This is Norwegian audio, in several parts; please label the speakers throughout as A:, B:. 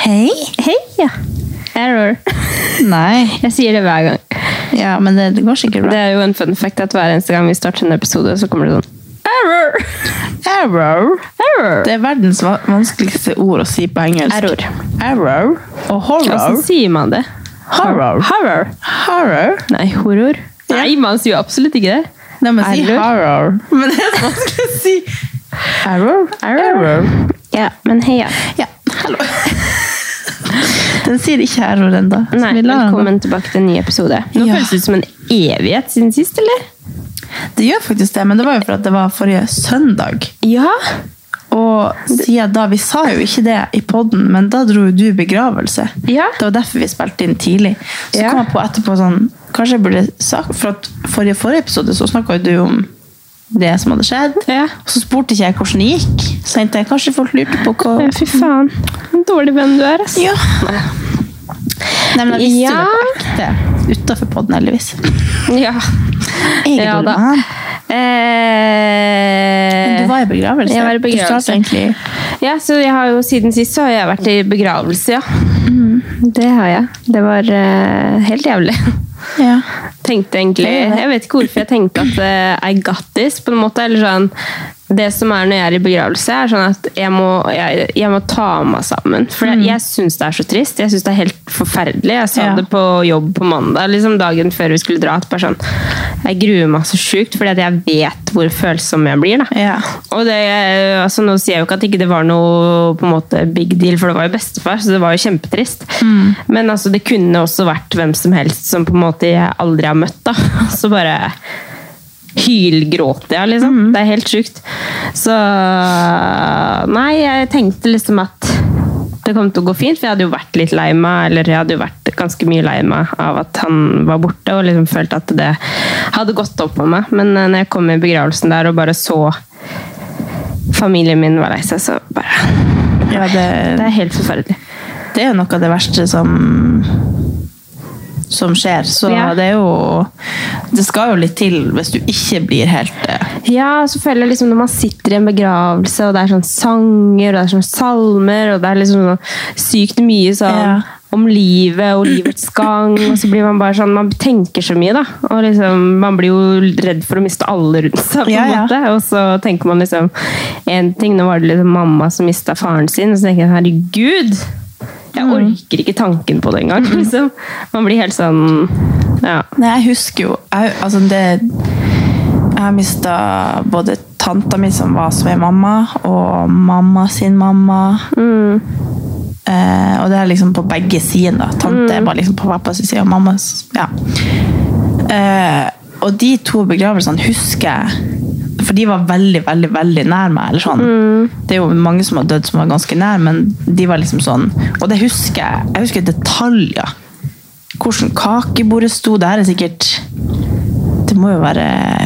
A: Hei.
B: Hei, ja. Error.
A: Nei.
B: Jeg sier det hver gang.
A: Ja, men det, det går sikkert
B: Det
A: bra.
B: er jo en fun fact at hver eneste gang vi starter en episode, så kommer det sånn Error!
A: Error.
B: Error!
A: Det er verdens va- vanskeligste ord å si på engelsk.
B: Error.
A: Error. Og horror.
B: Hvordan sier man det?
A: Horror.
B: Horror.
A: Horror.
B: Nei, horror.
A: Ja.
B: Nei, man sier jo absolutt ikke det.
A: Nei, men si
B: Error.
A: horror. Men det er så vanskelig å si. Error. Error.
B: Ja, men heia.
A: Ja, hallo. Den sier ikke error ennå. så
B: Nei,
A: vi lar den gå.
B: velkommen tilbake til en ny episode. Nå
A: Ja.
B: føles det ut som en evighet siden sist, eller?
A: Det gjør faktisk det, men det var jo for at det var forrige søndag.
B: Ja.
A: Og siden da, vi sa jo ikke det i podden, men da dro jo du begravelse.
B: Ja.
A: Det var derfor vi spilte inn tidlig. Så
B: Ja.
A: kom jeg på etterpå sånn, kanskje jeg burde sagt, for at forrige, forrige episode så snakket jo du om det som hadde skjedd.
B: Ja.
A: Og så spurte ikke jeg hvordan det gikk. Så tenkte jeg, kanskje folk lurte på hva...
B: Fy faen. En dårlig venn du er, ass.
A: Ja. Nei, men jeg visste
B: Ja.
A: jo det på ekte. Utenfor podden, heldigvis.
B: Ja.
A: Jeg er
B: Ja
A: dårlig
B: da.
A: mann.
B: Eh,
A: Du var i begravelse.
B: Jeg var i
A: Du
B: begravelse.
A: startet egentlig...
B: Ja, så jeg har jo siden sist så har jeg vært i begravelse, ja.
A: Mm.
B: Det har jeg. Det var eh, helt jævlig.
A: Ja.
B: Tenkte egentlig Jeg vet ikke hvorfor jeg tenkte at eh, I got this, på en måte. Eller sånn Det som er når jeg er i begravelse, er sånn at jeg må, jeg, jeg må ta meg sammen. For jeg, jeg syns det er så trist. Jeg syns det er helt forferdelig. Jeg sa
A: Ja.
B: det på jobb på mandag, liksom dagen før vi skulle dra. At bare sånn, jeg gruer meg så sjukt, fordi at jeg vet hvor følsom jeg blir. da.
A: Ja.
B: Og det, altså Nå sier jeg jo ikke at ikke det var noe på en måte big deal, for det var jo bestefar, så det var jo kjempetrist. Men altså, det kunne også vært hvem som helst som på en måte jeg aldri har møtt. da. Så bare hylgråter jeg, liksom. Det er helt sjukt. Så Nei, jeg tenkte liksom at det kom til å gå fint, for jeg hadde jo vært litt lei meg, eller jeg hadde jo vært ganske mye lei meg av at han var borte, og liksom følte at det hadde gått opp på meg. Men eh, når jeg kom i begravelsen der og bare så familien min var lei seg, så bare
A: Ja,
B: Det
A: det,
B: er helt forferdelig.
A: det er jo noe av det verste som som skjer, så
B: Ja.
A: det er jo det skal jo litt til hvis du ikke blir helt eh,
B: Ja, så føler jeg liksom når man sitter i en begravelse, og det er sånn sanger, og det er sånn salmer, og det er liksom sånn sykt mye sånn
A: Ja.
B: om livet og livets gang, og så blir man bare sånn Man tenker så mye, da. Og liksom, man blir jo redd for å miste alle rundt seg, på en
A: Ja, ja.
B: måte. Og så tenker man liksom En ting, nå var det liksom mamma som mista faren sin, og så tenker jeg herregud! Jeg
A: Mm.
B: orker ikke tanken på det engang. Liksom. Man blir helt sånn Ja.
A: Nei, jeg husker jo jeg, altså det, jeg har mista både tanta mi, som var svemamma, og mamma sin mamma. Eh, og det er liksom på begge sider. da. Tante var liksom på pappas side, og mammas ja. eh, Og de to begravelsene husker jeg For de var veldig, veldig veldig nær meg. eller sånn. Det er jo mange som har dødd som var ganske nær, men de var liksom sånn Og det husker jeg. Jeg husker detaljer. Hvordan kakebordet sto. Det her er sikkert Det må jo være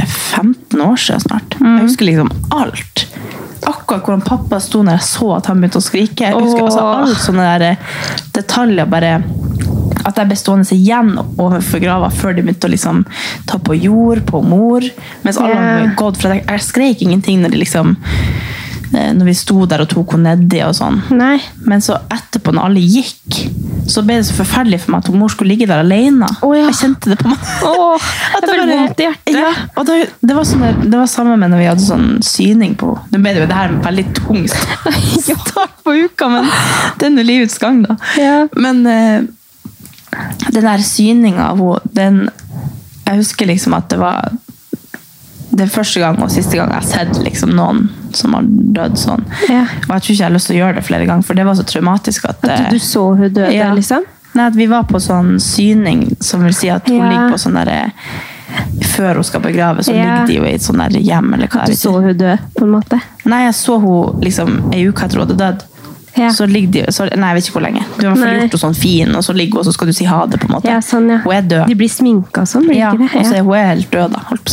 A: 15 år siden snart. Jeg husker liksom alt. Akkurat hvordan pappa sto når jeg så at han begynte å skrike. Jeg husker altså
B: Åh.
A: alt sånne der eh, detaljer bare at jeg ble stående igjen overfor grava før de begynte å liksom ta på jord på mor. Mens alle
B: Ja.
A: hadde gått, for jeg, jeg skreik ingenting når, de liksom, eh, når vi sto der og tok henne nedi og sånn.
B: Nei.
A: Men så etterpå, når alle gikk, så ble det så forferdelig for meg at mor skulle ligge der alene.
B: Å, ja.
A: Jeg kjente det på meg.
B: Åh, jeg får vondt i hjertet.
A: Ja, og det, det, var sånn der, det var samme med når vi hadde sånn syning på Nå ble det jo det her en veldig tung start på uka, men det er nå livets gang, da.
B: Ja.
A: Men eh, den der syninga av henne, den Jeg husker liksom at det var det er første gang og siste gang jeg har sett liksom, noen som har dødd sånn.
B: Ja.
A: Og jeg tror ikke jeg har lyst til å gjøre det flere ganger, for det var så traumatisk at, eh,
B: Du så hun døde,
A: ja.
B: liksom?
A: Nei, at vi var på sånn syning, som vil si at hun
B: Ja.
A: ligger på sånn derre Før hun skal begraves, så
B: Ja.
A: ligger de jo i et sånn der hjem eller hva.
B: Du
A: jeg
B: så
A: vet
B: hun dø, på en måte?
A: ikke. Nei, jeg så hun liksom ei uke etter hun hadde dødd.
B: Ja.
A: Så ligger de så, Nei, jeg vet ikke hvor lenge. Du har i hvert fall
B: Nei.
A: gjort henne sånn fin, og så ligger hun, og så skal du si ha det, på en måte.
B: Ja, sånn, ja.
A: Hun er død.
B: De blir sminka og sånn, blir
A: Ja,
B: de
A: og
B: ikke
A: så
B: det? Mm.
A: er hun helt død, da, holdt på å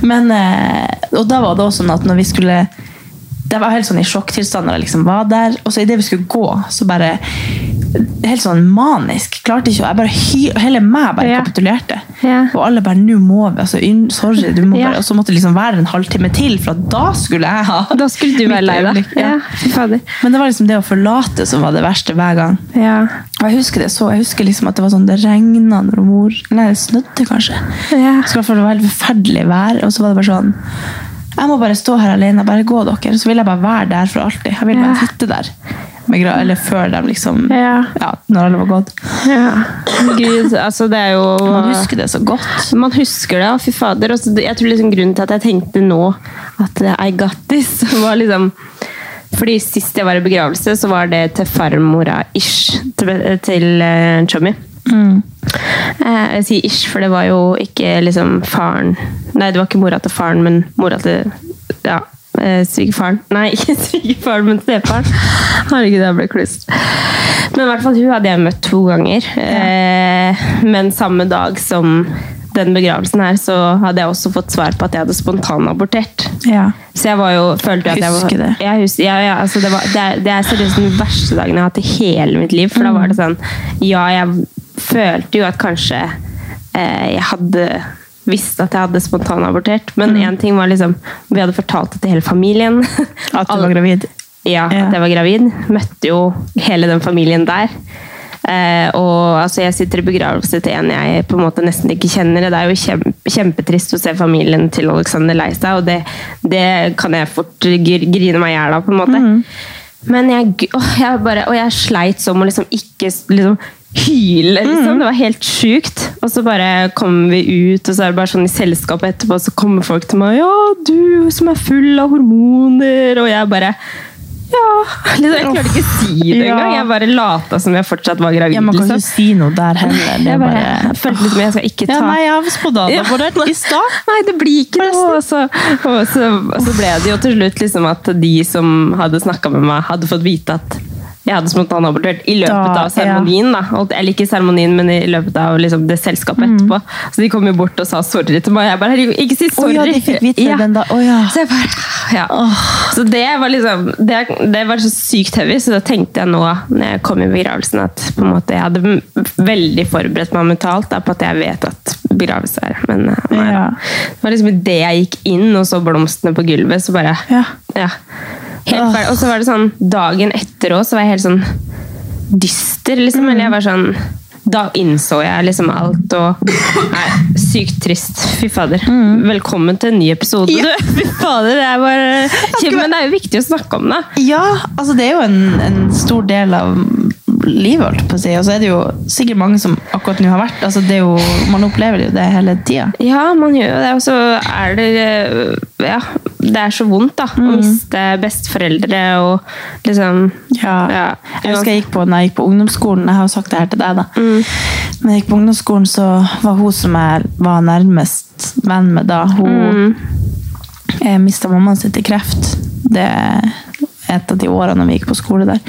A: si. Men, eh, og da var det også sånn at når vi skulle det var helt sånn i sjokktilstand når jeg liksom var der. Og så idet vi skulle gå, så bare Helt sånn manisk. Klarte ikke å jeg bare hy, Hele meg bare
B: Ja.
A: kapitulerte.
B: Ja.
A: Og alle bare 'Nå må vi.' altså, unn- Sorry. du må
B: Ja.
A: bare, Og så måtte det liksom være en halvtime til, for at da skulle jeg ha
B: Da skulle du
A: mitt
B: være lei deg.
A: øyeblikk,
B: Ja,
A: Ja.
B: fy fader.
A: Men det var liksom det å forlate som var det verste hver gang.
B: Ja.
A: Og jeg husker det så, jeg husker liksom at det var sånn, det regnet når mor, nei, det snødde kanskje.
B: Ja.
A: Så i hvert fall det var helt forferdelig vær, og så var det bare sånn, jeg må bare stå her alene, bare gå dere, så vil jeg bare være der for alltid. Jeg vil bare
B: Ja.
A: sitte der, med gra- eller før dem liksom,
B: Ja.
A: når alle var gått.
B: ja. Gud, altså det er jo
A: Man husker det så godt.
B: Man husker det, og fy fader. Og så det- jeg tror liksom grunnen til at jeg tenkte nå at eh, I got this, var liksom fordi Sist jeg var i begravelse, så var det til farmora-ish. Til, til eh, Chummy. Eh, jeg sier ish, for det var jo ikke liksom faren Nei, det var ikke mora til faren, men mora til ja, eh, svigerfaren. Nei, ikke svigerfaren, men stefaren. Herregud, jeg ble klust. Men i hvert fall, hun hadde jeg møtt to ganger. Eh, men samme dag som den begravelsen her, så hadde jeg også fått svar på at jeg hadde spontanabortert.
A: Ja.
B: Så jeg var jo, følte at jeg var...
A: Husker det.
B: Jeg husker, ja, ja, altså det, var, det, er, det er seriøst den verste dagen jeg har hatt i hele mitt liv. For da
A: Mm.
B: var det sånn Ja, jeg følte jo at kanskje eh, jeg hadde visst at jeg hadde spontanabortert. Men
A: Mm.
B: én ting var liksom Vi hadde fortalt det til hele familien.
A: At du
B: Alle-
A: var gravid.
B: ja,
A: Ja.
B: at jeg var gravid. Møtte jo hele den familien der. Eh, og altså, jeg sitter i begravelse til en jeg på en måte nesten ikke kjenner. og Det er jo kjem- kjempetrist å se familien til Alexander lei seg, og det, det kan jeg fort gr- grine meg i hjel av, på en måte. Men jeg, g- åh, jeg bare, og jeg sleit som å liksom ikke s- liksom, hyle,
A: Mhm.
B: liksom. Det var helt sjukt. Og så bare kommer vi ut, og så er det bare sånn i selskapet etterpå, så kommer folk til meg Ja, du som er full av hormoner, og jeg bare ja. Liksom, jeg klarte ikke å si det
A: Ja.
B: engang. Jeg bare lata som jeg fortsatt var gravid.
A: Ja, man kan
B: liksom.
A: ikke si noe der heller. Det er
B: jeg bare,
A: bare,
B: følte litt med jeg skal ikke ta
A: ja, nei, jeg har spontanabortert i stad.
B: Nei, det blir ikke det. Og så, og så, og så ble det jo til slutt liksom at de som hadde snakka med meg, hadde fått vite at jeg hadde spontanabortert i løpet
A: Da,
B: av seremonien. da. Og- Eller ikke seremonien, men i løpet av liksom, det selskapet etterpå. Så de kom jo bort og sa sorry til meg. Jeg bare, herregud, ikke si
A: Mm. Å
B: sorry!
A: ja, de fikk vite det
B: Ja.
A: den da. Å ja.
B: Så jeg bare, ja. Så det var liksom det, det var så sykt heavy, så da tenkte jeg nå når jeg kom i begravelsen at på en måte, jeg hadde m- veldig forberedt meg mentalt da, på at jeg vet at begravelse er men eh, nei, da.
A: Ja.
B: Det var liksom det jeg gikk inn og så blomstene på gulvet, så bare
A: Ja.
B: Helt
A: Åh.
B: ferdig. Og så var det sånn dagen etter òg, så var jeg helt sånn dyster, liksom. Eller jeg var sånn da innså jeg liksom alt og Nei, sykt trist. Fy fader. Velkommen til en ny episode,
A: Mm. Ja.
B: du. Fy fader, det er bare Kjem, Men det er jo viktig å snakke om det.
A: Ja, altså det er jo en, en stor del av livet, holdt jeg på å si. Og så er det jo sikkert mange som akkurat nå har vært altså det er jo, Man opplever jo det hele tida.
B: Ja, man gjør jo det. Og så er det eh, Ja, det er så vondt, da.
A: Mm.
B: Å miste besteforeldre og liksom
A: Jeg husker jeg gikk på, når jeg gikk på ungdomsskolen, jeg har jo sagt det her til deg, da. Men jeg gikk på ungdomsskolen, så var hun som jeg var nærmest venn med da,
B: Mm.
A: hun eh, mista mammaen sin til kreft. Det er et av de årene vi gikk på skole der.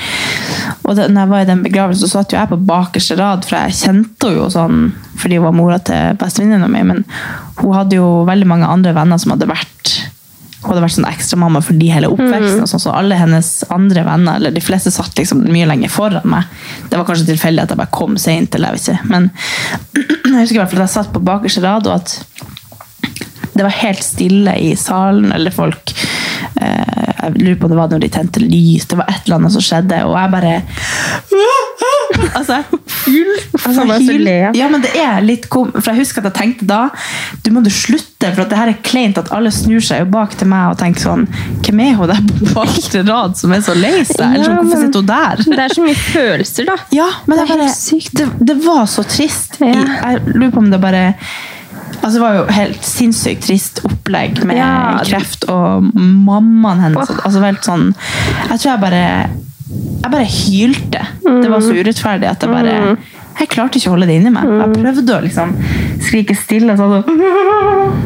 A: Og da når jeg var i den begravelsen, så satt jo jeg på bakerste rad, for jeg kjente henne jo sånn fordi hun var mora til bestevenninna mi, men hun hadde jo veldig mange andre venner som hadde vært hun hadde vært sånn ekstramamma for de hele oppveksten. og Sånn, så alle hennes andre venner, eller de fleste, satt liksom mye lenger foran meg. Det var kanskje tilfeldig at jeg bare kom seint, eller jeg vet ikke. Men jeg husker i hvert fall at jeg satt på bakerste rad, og at det var helt stille i salen, eller folk eh, Jeg lurer på om det var når de tente lys, det var et eller annet som skjedde, og jeg bare Altså, full altså,
B: Faen, jeg er så
A: hyl.
B: le, jeg.
A: Ja, men det er litt kom... For jeg husker at jeg tenkte da Du må du slutte, for at det her er kleint at alle snur seg jo bak til meg og tenker sånn Hvem er hun der på bakre rad som er så lei seg? Eller sånn,
B: Ja,
A: hvorfor
B: men-
A: sitter hun der?
B: Det er så mye følelser, da.
A: Ja, men
B: Det
A: det,
B: er
A: bare,
B: helt sykt.
A: Det, det var så trist.
B: Ja.
A: Jeg, jeg lurer på om det bare Altså, det var jo helt sinnssykt trist opplegg med
B: Ja, det-
A: kreft og mammaen hennes.
B: Åh.
A: Altså, helt sånn Jeg tror jeg bare Jeg bare
B: Mm.
A: hylte. Det var så urettferdig at jeg bare Jeg klarte ikke å holde det inni meg. Jeg prøvde å liksom
B: skrike stille. Sånn,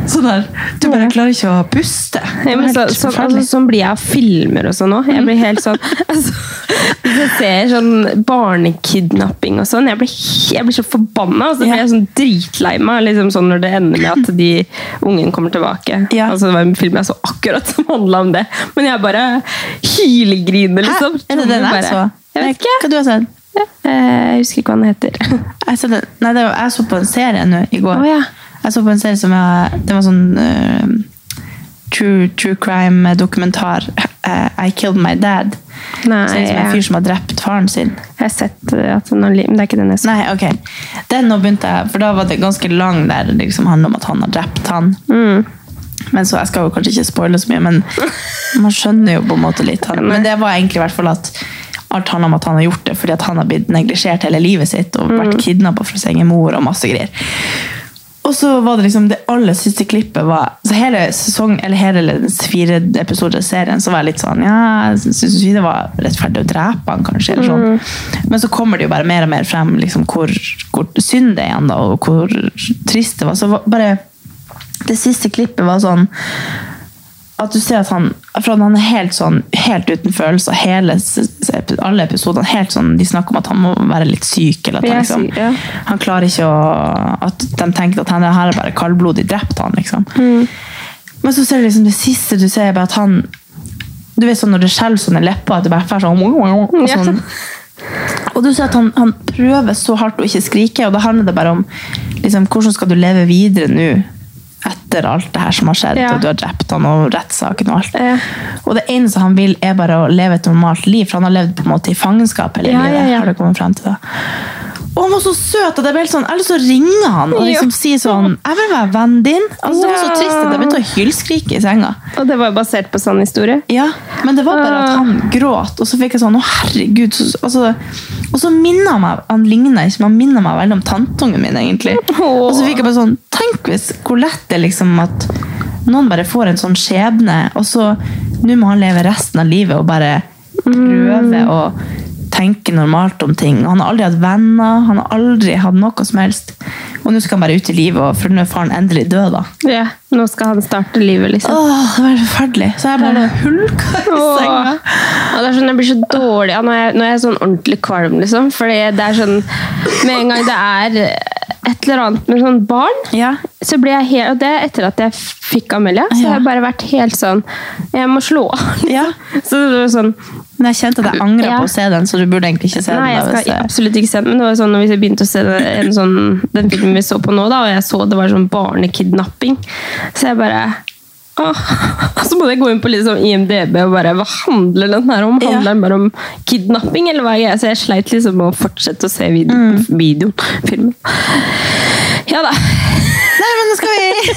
A: Sånn der. Du bare klarer ikke å puste. Det
B: Ja,
A: var
B: men
A: helt
B: så, så, altså,
A: forferdelig.
B: sånn blir jeg av filmer og sånn òg. Jeg blir helt sånn altså, Hvis jeg ser sånn barnekidnapping og sånn, jeg blir, he- jeg blir så forbanna. Og så blir jeg sånn dritlei meg liksom sånn når det ender med at de ungen kommer tilbake.
A: Ja.
B: Altså, det var en film jeg så akkurat som handla om det, men jeg bare hylegriner,
A: Hæ?
B: liksom.
A: Er det den jeg
B: Bare-
A: så?
B: Jeg vet ikke.
A: Hva du har sett?
B: Eh, Jeg husker ikke hva den heter.
A: Jeg så, den- nei, det var, jeg så på en serie nå i går.
B: Å, ja.
A: Jeg så på en serie som jeg, Det var sånn eh, true, true crime-dokumentar. eh, I Killed My Dad.
B: Nei,
A: så det er liksom en fyr som har drept faren sin.
B: Jeg har sett at den har li- Men det er ikke den jeg så.
A: Nei, ok. Den nå begynte jeg, for da var det ganske lang der det liksom handler om at han har drept han. Men så, Jeg skal jo kanskje ikke spoile så mye, men man skjønner jo på en måte litt. Han. Men det var egentlig i hvert fall at alt handler om at han har gjort det fordi at han har blitt neglisjert hele livet sitt og vært kidnappa fra sin egen mor og masse greier. Og så var det liksom det aller siste klippet var Så hele sesong, eller hele den fire episoder av serien, så var jeg litt sånn Ja, jeg syns vi det var rettferdig å drepe han, kanskje? Eller sånn. Men så kommer det jo bare mer og mer frem liksom, hvor, hvor synd det er igjen, da, og hvor trist det var. Så var- bare Det siste klippet var sånn at du ser at han, for at han er helt sånn, helt uten følelser, hele, s- s- alle episodene, helt sånn, de snakker om at han må være litt syk, eller at han
B: Ja,
A: liksom,
B: syk, ja.
A: han klarer ikke å At de tenker at han det her er bare kaldblodig drept han, liksom.
B: Mm.
A: Men så ser du liksom det siste du ser, er bare at han Du vet sånn når det skjelver sånne lepper, at det bare får sånn, og
B: Ja.
A: sånn og du ser at han, han prøver så hardt å ikke skrike, og da handler det bare om liksom, hvordan skal du leve videre nå etter alt det her som har skjedd,
B: Ja.
A: og du har drept han og rettssaken og alt.
B: Ja.
A: Og det eneste han vil er bare å leve et normalt liv, for han har levd på en måte i fangenskap hele
B: Ja,
A: livet.
B: ja, ja.
A: har det kommet frem til da. Og han var så søt at jeg ble helt sånn, jeg har lyst til å ringe han og liksom
B: Ja.
A: si sånn, jeg vil være vennen din. Altså, Det var så
B: Ja.
A: trist at jeg begynte å hylskrike i senga.
B: Og det var jo basert på sann historie.
A: Ja, men det var bare at han gråt, og så fikk jeg sånn, å herregud. Så, altså, og så minner han meg, han ligner ikke, men han minner meg veldig om tantungen min, egentlig.
B: Åh.
A: Og så fikk jeg bare sånn, tenk hvis, hvor lett det er liksom at noen bare får en sånn skjebne, og så nå må han leve resten av livet og bare prøve å tenke normalt om ting. Han har aldri hatt venner, han har aldri hatt noe som helst. Og nå skal han bare ut i livet, og for nå er faren endelig død da.
B: Ja, nå skal han starte livet, liksom.
A: Åh, det var forferdelig. Så jeg bare hulka i
B: Åh.
A: senga.
B: Ja, det er sånn, jeg blir så dårlig ja, nå, er jeg, nå er jeg sånn ordentlig kvalm, liksom. Fordi det er sånn Med en gang det er et eller annet med sånn barn,
A: Ja.
B: så blir jeg helt Og det er etter at jeg fikk Amelia, så
A: Ja.
B: har jeg bare vært helt sånn Jeg må slå av.
A: Ja.
B: Så det var sånn
A: Men jeg kjente at jeg angret
B: Ja.
A: på å se den, så du burde egentlig ikke se den.
B: Nei, jeg
A: da, hvis
B: skal
A: det-
B: absolutt ikke se den. Men det var sånn, når vi begynte å se den, en sånn, den filmen vi så på nå, da, og jeg så det var sånn barnekidnapping, så jeg bare Åh. Så måtte jeg gå inn på litt sånn IMDb og bare Hva handler den her om?
A: Ja.
B: Handler den bare om kidnapping? Eller hva er greia? Så jeg sleit liksom med å fortsette å se vid
A: Mm.
B: videoen. Filmen. Ja da.
A: Nei, men nå skal vi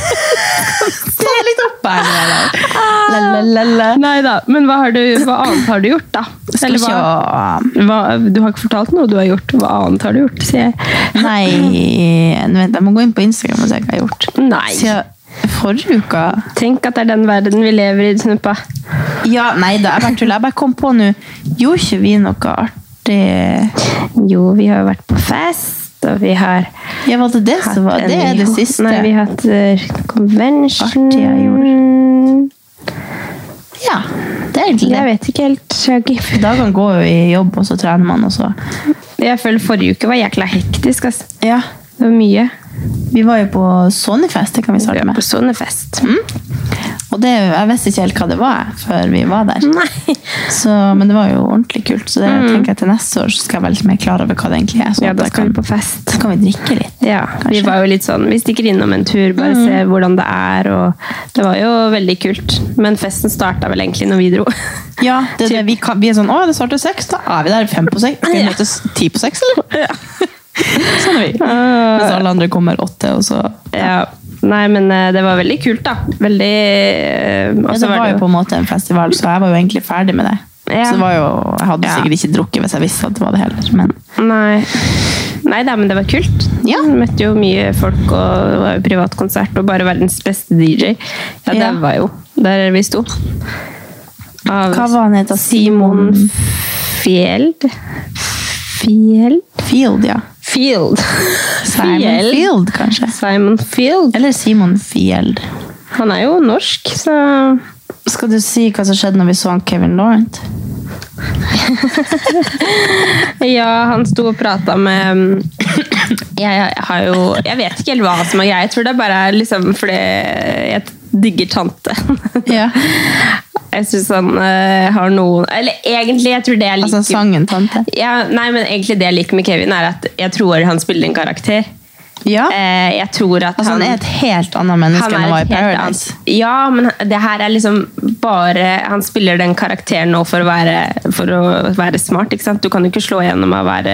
A: se litt opp her. La, la,
B: Ah,
A: la, la.
B: Nei da. Men hva, har du, hva annet har du gjort, da?
A: Skal
B: Eller
A: ikke
B: hva,
A: å...
B: hva, du har ikke fortalt noe du har gjort. Hva annet har du gjort? sier jeg.
A: Nei, nå vent, jeg må gå inn på Instagram og se hva jeg har gjort.
B: Nei.
A: Siden forrige uka
B: Tenk at det er den verden vi lever i, Snuppa.
A: Ja, nei da, jeg bare tuller. Jeg bare kom på nå. Gjorde ikke vi noe artig
B: Jo, vi har jo vært på fest, og vi har
A: Ja, var det det som var
B: hatt en-
A: Det er det siste.
B: Nei, vi har hatt eh, convention.
A: Artig jeg
B: gjorde.
A: Ja, det er egentlig
B: Jeg
A: det.
B: vet ikke helt. jeg har ikke-
A: Dagene går jo i jobb, og så trener man, og så
B: Jeg føler forrige uke var jækla hektisk. ass.
A: Ja.
B: Det var mye.
A: Vi var jo på Sonyfest, det kan vi
B: Vi
A: starte
B: var
A: med.
B: på sånne fest.
A: Mm. Og det, jeg visste ikke helt hva det var før vi var der.
B: Nei.
A: Så, men det var jo ordentlig kult, så det tenker jeg til neste år så skal jeg være litt mer klar over hva det egentlig er. Sånn
B: Ja,
A: at
B: da
A: jeg
B: skal
A: kan,
B: vi på fest.
A: så kan vi drikke litt.
B: Ja, vi
A: Kanskje. Mm.
B: var jo litt sånn, vi stikker innom en tur, bare se hvordan det er, og det var jo veldig kult. Men festen startet vel egentlig når vi dro.
A: Ja, det, er det, vi, kan, vi er sånn 'Å, det starter seks, da er vi der fem på seks.' Skal vi møtes ti på seks, eller? sånn er vi. Mens alle andre kommer åtte, og så
B: Ja. Nei, men eh, det var veldig kult, da. Veldig eh, og
A: ja, Det
B: så
A: var jo på en måte en festival, så jeg var jo egentlig ferdig med det.
B: Ja.
A: Så det var jo, Jeg hadde
B: Ja.
A: sikkert ikke drukket hvis jeg visste at det var det heller, men
B: Nei. Nei da, men det var kult.
A: Ja.
B: Vi Møtte jo mye folk, og det var jo privat konsert, og bare verdens beste DJ. Ja, det
A: Ja.
B: var jo der vi sto. Av
A: Hva var han het? da?
B: Simon Fjeld Fjeld?
A: Field, ja.
B: Field.
A: Simon
B: Field.
A: Field, kanskje.
B: Simon Field.
A: Eller Simon Field.
B: Han er jo norsk, så
A: Skal du si hva som skjedde når vi så han Kevin Laurent?
B: Ja, han sto og prata med um, jeg, jeg har jo Jeg vet ikke helt hva som er greia. Jeg tror det bare er liksom fordi jeg digger tante.
A: Ja.
B: Jeg syns han eh, har noen Eller egentlig, jeg tror det jeg liker
A: Altså sangen Tante.
B: ja, Nei, men egentlig det jeg liker med Kevin, er at jeg tror han spiller en karakter.
A: Ja.
B: Eh, jeg tror at
A: Altså, han er et helt annet menneske enn han var i
B: et helt
A: Paradise.
B: annet- Ja, men det her er liksom bare Han spiller den karakteren nå for å være, for å være smart. ikke sant? Du kan jo ikke slå gjennom av å være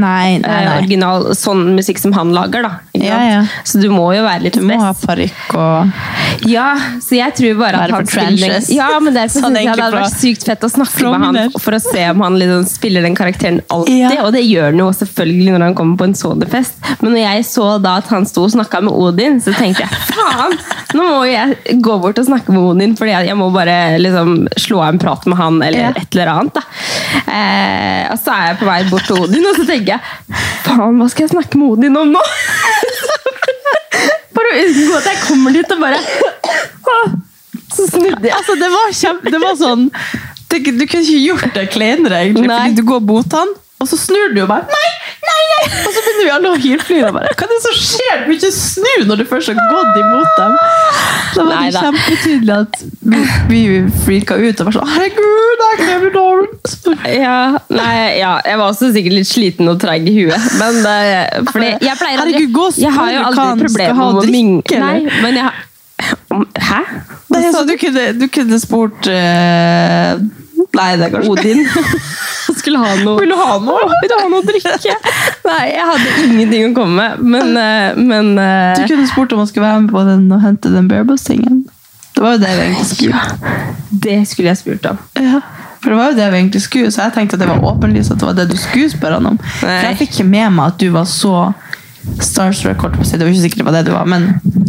A: Nei, nei,
B: eh,
A: nei.
B: original sånn musikk som han lager, da. ikke
A: Ja,
B: sant?
A: ja.
B: Så du må jo være litt
A: Du må ha
B: best.
A: parykk og
B: Ja, så jeg tror bare at
A: Være
B: han
A: for trenches.
B: spiller Ja, men derfor
A: Sånn
B: synes jeg det
A: egentlig
B: hadde vært
A: fra-
B: sykt fett å snakke
A: fra
B: med han
A: Miller.
B: for å se om han liksom spiller den karakteren alltid.
A: Ja.
B: Og det gjør han jo selvfølgelig når han kommer på en sodefest. Men når jeg så da at han sto og snakka med Odin, så tenkte jeg faen! Nå må jeg gå bort og snakke med Odin, Fordi jeg- jeg må bare liksom slå av en prat med han eller
A: Ja.
B: et eller annet. da eh, Og så er jeg på vei bort til Odin, og så tenker jeg faen, hva skal jeg snakke med Odin om nå? Bare å unngå at jeg kommer dit og bare Så snudde jeg.
A: Altså, det var kjempe... Det var sånn... Det, du kunne ikke gjort det kleinere, egentlig.
B: Nei.
A: Fordi du går mot han, og så snur du jo bare. Nei, nei, nei! Og så begynner vi alle å hylflyre bare. Hva er det som skjer? Du vil ikke snu når du først har gått imot dem. Da var det
B: Neida.
A: kjempetydelig at vi, vi freaka ut og var sånn, herregud, det er Kevin Lawrence.
B: Ja, nei, ja, jeg var også sikkert litt sliten og treig i huet. Men det, fordi jeg pleier aldri
A: Herregud, gå og
B: Jeg har jo
A: spør hva han
B: aldri
A: skal
B: problemer
A: ha
B: med
A: å
B: å
A: drikke,
B: mingle.
A: eller?
B: Nei, men jeg har- Om- Hæ?
A: Nei, altså, du kunne, du kunne spurt... eh, nei, det er kanskje...
B: Odin skulle ha noe
A: Vil du ha noe?
B: Vil du ha noe å drikke? Nei, jeg hadde ingenting å komme med. Men, eh, men eh,
A: Du kunne spurt om han skulle være med på den og hente den barebus-tingen. Det var jo det vi egentlig skulle.
B: ja, Det skulle jeg spurt om.
A: Ja. For det var jo det vi egentlig skulle, så jeg tenkte at det var åpenlyst at det var det du skulle spørre han om. For
B: Nei.
A: jeg fikk ikke med meg at du var så starstruck, holdt på å si. Det var ikke sikkert det var det du var, men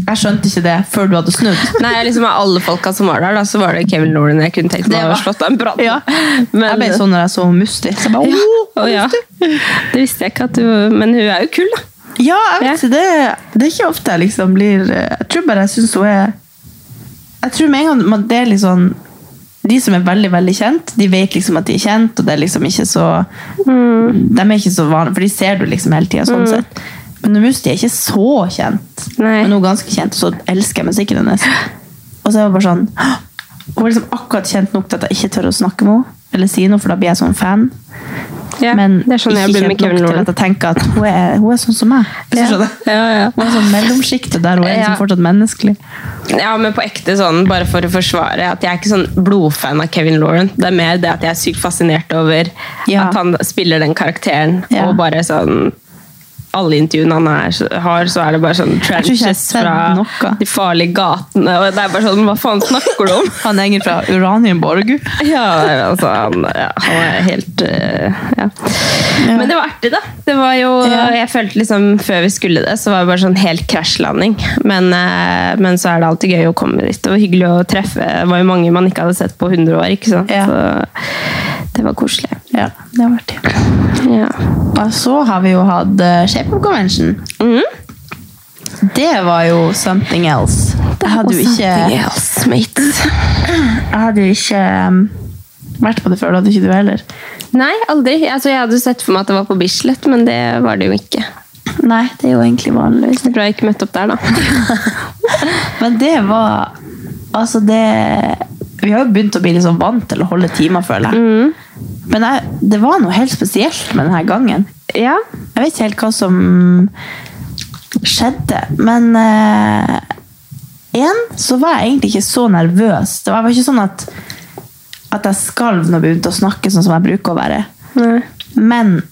A: jeg skjønte ikke det før du hadde snudd.
B: Nei, jeg liksom Av alle folka som var der, da, så var det Kevin Lauren jeg kunne tenkt
A: Det
B: meg å
A: var-
B: ha slått av en prat. med.
A: Ja.
B: Men- eh,
A: Jeg ble sånn når jeg så Musti. Så jeg bare,
B: Ja.
A: «Åh,
B: Å, ja. Det visste jeg ikke at du Men hun er jo kul, da.
A: Ja, jeg vet ikke, det, det er ikke ofte jeg liksom blir Jeg tror bare jeg syns hun er Jeg tror med en gang man, det er litt sånn De som er veldig, veldig kjent, de vet liksom at de er kjent, og det er liksom ikke så
B: Mm.
A: De er ikke så vanlige, for de ser du liksom hele tida sånn sett. Men Musti er ikke så kjent,
B: Nei.
A: men hun er ganske kjent, og så elsker jeg musikken hennes. Og så er hun bare sånn «Hå!» Hun er liksom akkurat kjent nok til at jeg ikke tør å snakke med henne, eller si noe, for da blir jeg sånn fan.
B: Ja,
A: men
B: det er sånn jeg
A: ikke
B: blir med
A: kjent
B: Kevin
A: nok til
B: Lauren.
A: at jeg tenker at hun er, hun er sånn som meg. Hvis du
B: Ja.
A: skjønner.
B: Ja, ja.
A: Hun er sånn mellomsjiktet der hun er liksom
B: Ja.
A: fortsatt menneskelig.
B: ja, men på ekte sånn, bare for å forsvare at jeg er ikke sånn blodfan av Kevin Lauren. Det er mer det at jeg er sykt fascinert over
A: Ja.
B: at han spiller den karakteren,
A: Ja.
B: og bare sånn alle intervjuene han er, har, så er det bare sånn
A: tror ikke jeg har
B: trenches
A: sett
B: fra
A: noe.
B: de farlige gatene. Og det er bare sånn, hva faen snakker du om?
A: Han er egentlig fra Uranienborg.
B: Ja, altså han, ja, han er helt eh, ja. Men det var artig, da. Det var jo,
A: Ja.
B: Jeg følte liksom Før vi skulle det, så var det bare sånn helt krasjlanding. Men, eh, men så er det alltid gøy å komme dit. Og hyggelig å treffe. Det var jo mange man ikke hadde sett på 100 år. ikke sant?
A: Ja.
B: Så det var koselig.
A: Ja, det har vært det.
B: Ja.
A: Og så har vi jo hatt eh, Shape Up Convention.
B: Mhm.
A: Det var jo something else. Jeg hadde jo ikke,
B: Something else, mate.
A: jeg hadde jo ikke um, vært på det før, det hadde ikke du heller.
B: Nei, aldri. Altså, jeg hadde sett for meg at det var på Bislett, men det var det jo ikke.
A: Nei, det er jo egentlig liksom. vanligvis.
B: Jeg tror jeg ikke møtte opp der, da.
A: Men det var Altså, det Vi har jo begynt å bli litt sånn vant til å holde timer, føler
B: Mhm.
A: jeg. Men jeg, det var noe helt spesielt med denne gangen.
B: Ja.
A: Jeg vet ikke helt hva som skjedde, men Én, så var jeg egentlig ikke så nervøs. Det var, jeg var ikke sånn at, at jeg skalv når jeg begynte å snakke sånn som jeg bruker å være.
B: Nei.
A: Men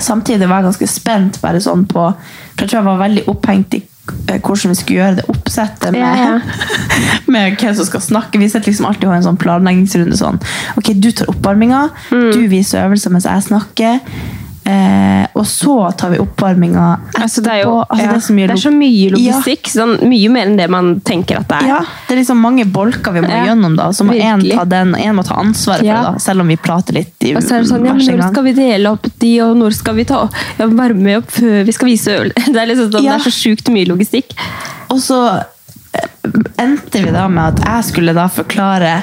A: samtidig var jeg ganske spent bare sånn på For jeg tror jeg var veldig opphengt i eh, hvordan vi skulle gjøre det oppsettet med,
B: Ja, ja.
A: med hvem som skal snakke. Vi setter liksom alltid å ha en sånn
B: Mm.
A: planleggingsrunde sånn. Ok, du tar oppvarminga, du viser øvelser mens jeg snakker. Eh, og så tar vi oppvarminga etterpå.
B: Altså, det, er jo,
A: Altså,
B: ja,
A: det, er så mye lo-
B: mye
A: Ja.
B: logistikk. Sånn, mye mer enn det man tenker at det er.
A: Ja, det er liksom mange bolker vi må
B: Ja,
A: gjennom, da. Så må én
B: virkelig.
A: ta den, og én må ta ansvaret for
B: Ja.
A: det, da. Selv om vi prater litt i
B: Og så er det sånn, ja,
A: hver
B: men
A: sin
B: Når
A: gang.
B: skal vi dele opp de, og når skal vi ta ja, varme opp før vi skal vise øl? Det er, liksom sånn,
A: Ja.
B: det er så sjukt mye logistikk.
A: Og så eh, endte vi da med at jeg skulle da forklare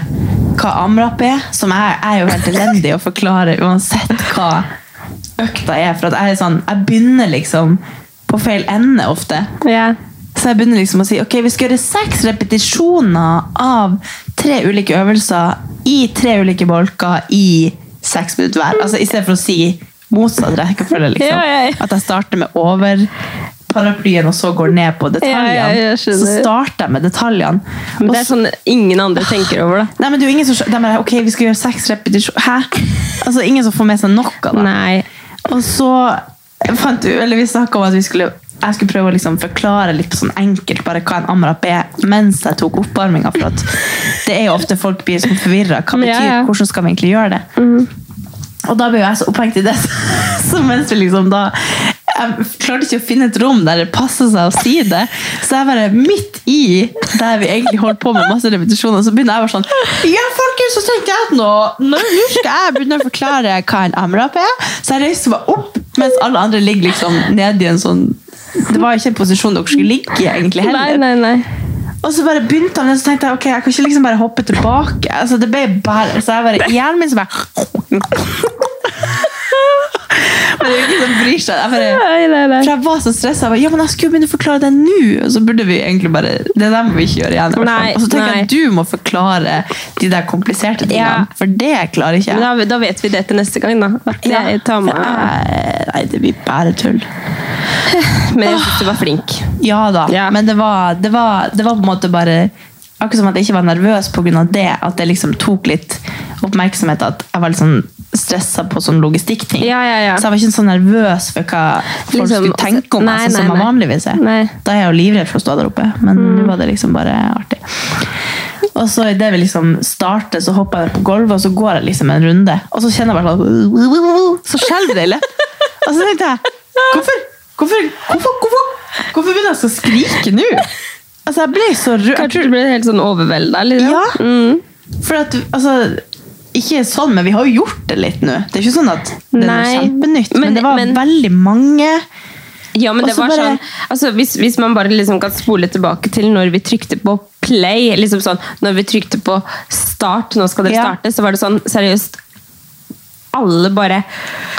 A: hva amrap er, som jeg jeg er jo helt elendig å forklare uansett hva økta er. For at jeg er sånn, jeg begynner liksom på feil ende ofte.
B: Ja.
A: Så jeg begynner liksom å si ok, vi skal gjøre seks repetisjoner av tre ulike øvelser i tre ulike bolker i seks minutter hver. Altså I stedet for å si motsatt rekkefølge. Liksom.
B: Ja, ja, ja.
A: At jeg starter med overparaplyen og så går ned på detaljene.
B: Ja, ja, jeg
A: så
B: skjønner.
A: starter jeg med detaljene.
B: Men
A: Og
B: det er sånn ingen andre tenker over, da.
A: Nei, men det er jo ingen som skjø- De bare, ok, vi skal gjøre seks repetisjoner. Hæ? Altså, ingen som får med seg noe av det.
B: Nei.
A: Og så fant vi, eller vi snakket om at vi skulle, jeg skulle prøve å liksom forklare litt sånn enkelt bare hva en amrap er, mens jeg tok oppvarminga. For at det er jo ofte folk blir sånn forvirra. Hva betyr
B: Ja, ja.
A: Hvordan skal vi egentlig gjøre det? Og da ble jo jeg så opphengt i det, så mens vi liksom da jeg klarte ikke å finne et rom der det passet seg å si det. Så jeg bare midt i der vi egentlig holdt på med masse repetisjoner, så begynner jeg bare sånn Ja, folkens, så tenkte jeg at nå, nå nå skal jeg begynne å forklare hva en amrap er. Så jeg reiste meg opp, mens alle andre ligger liksom nede i en sånn Det var ikke en posisjon dere skulle ligge i, egentlig heller.
B: Nei, nei, nei.
A: Og så bare begynte han, og så tenkte jeg ok, jeg kan ikke liksom bare hoppe tilbake. Altså, det ble bare, Så jeg bare, hjernen min så bare Men det er jo ikke som bryr seg. Jeg bare,
B: Nei, nei, nei.
A: for jeg var så stressa. Jeg bare, ja, men jeg skulle jo begynne å forklare det nå. Og så burde vi egentlig bare Det der må vi ikke gjøre igjen. i hvert fall.
B: Nei,
A: og så tenker jeg
B: nei.
A: at du må forklare de der kompliserte tingene,
B: Ja.
A: for det klarer ikke
B: Men
A: jeg.
B: Da, da vet vi det til neste gang, da. At jeg tar med,
A: Nei, Nei, det blir bare tull.
B: men jeg syns du var flink.
A: Ja da,
B: Ja.
A: men det var, det, var, det var på en måte bare Akkurat som at jeg ikke var nervøs pga. det, at det liksom tok litt oppmerksomhet. At jeg var litt sånn stressa på sånn logistikkting.
B: Ja, ja, ja.
A: Så jeg var ikke så nervøs for hva folk
B: Liksom,
A: skulle tenke om
B: nei,
A: meg, sånn
B: nei,
A: som man
B: nei.
A: vanligvis er.
B: Nei.
A: Da er jeg jo livredd for å stå der oppe, men nå var det liksom bare artig. Og så idet vi liksom starter, så hopper jeg på gulvet, og så går jeg liksom en runde. Og så kjenner jeg bare sånn Så skjelver det i leppen. Og så tenkte jeg Hvorfor? Hvorfor? Hvorfor? Hvorfor, hvorfor begynner jeg så å skrike nå? Altså, jeg ble så rød.
B: Kanskje du ble helt sånn overvelda? Liksom.
A: Ja.
B: Mm.
A: For at, altså ikke sånn, men vi har jo gjort det litt nå. Det er ikke sånn at det er noe
B: Nei.
A: kjempenytt, men,
B: Men-
A: det var
B: men-
A: veldig mange.
B: Ja, men
A: Og
B: det
A: så
B: var
A: bare-
B: sånn altså, hvis, hvis man bare liksom kan spole tilbake til når vi trykte på play liksom sånn, Når vi trykte på start, nå skal dere
A: Ja.
B: starte, så var det sånn seriøst Alle bare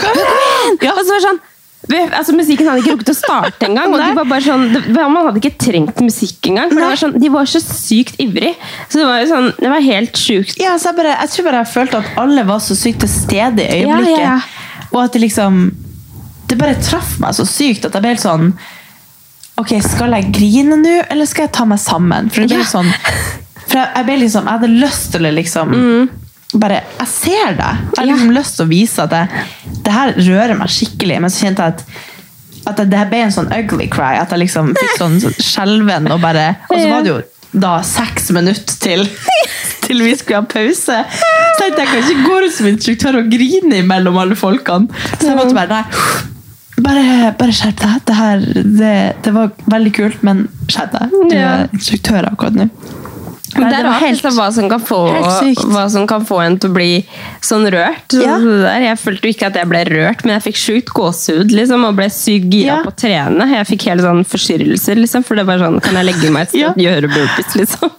A: Ja.
B: Og så var det sånn vi, altså Musikken hadde ikke rukket å starte engang. og de
A: Nei.
B: var bare sånn, det, man hadde ikke trengt musikk engang. for det
A: Nei.
B: var sånn, De var så sykt ivrig. Så det var jo sånn, det var helt sjukt.
A: Ja, så jeg, bare, jeg tror bare jeg følte at alle var så sykt til stede i øyeblikket.
B: Ja, ja, ja.
A: Og at det liksom Det bare traff meg så sykt at jeg ble helt sånn Ok, skal jeg grine nå, eller skal jeg ta meg sammen? For det ble
B: Ja.
A: sånn For jeg, jeg ble liksom Jeg hadde lyst til å liksom Bare Jeg ser deg! Jeg hadde
B: Mm. Ja.
A: liksom lyst til å vise at jeg, det her rører meg skikkelig, men så kjente jeg at at det- det her ble en sånn ugly cry. At jeg liksom fikk sånn sånn skjelven og bare Og så var det jo da seks minutter til, til vi skulle ha pause. Så tenkte jeg jeg kan ikke gå rundt som instruktør og grine imellom alle folkene. Så jeg måtte bare nei. Bare, bare skjerp deg. Det, her, det, det var veldig kult, men skjerp deg. Du
B: Ja.
A: er instruktør akkurat nå.
B: Men
A: Nei,
B: det er rart liksom, hva, som kan få,
A: helt sykt.
B: hva som kan få en til å bli sånn rørt. Så-
A: Ja.
B: så det der, jeg følte jo ikke at jeg ble rørt, men jeg fikk sjukt gåsehud liksom, og ble sykt gira
A: Ja.
B: på å trene. Jeg fikk hele sånn forstyrrelser, liksom, for det var sånn Kan jeg legge meg et sted
A: Ja.
B: og gjøre burpees, liksom?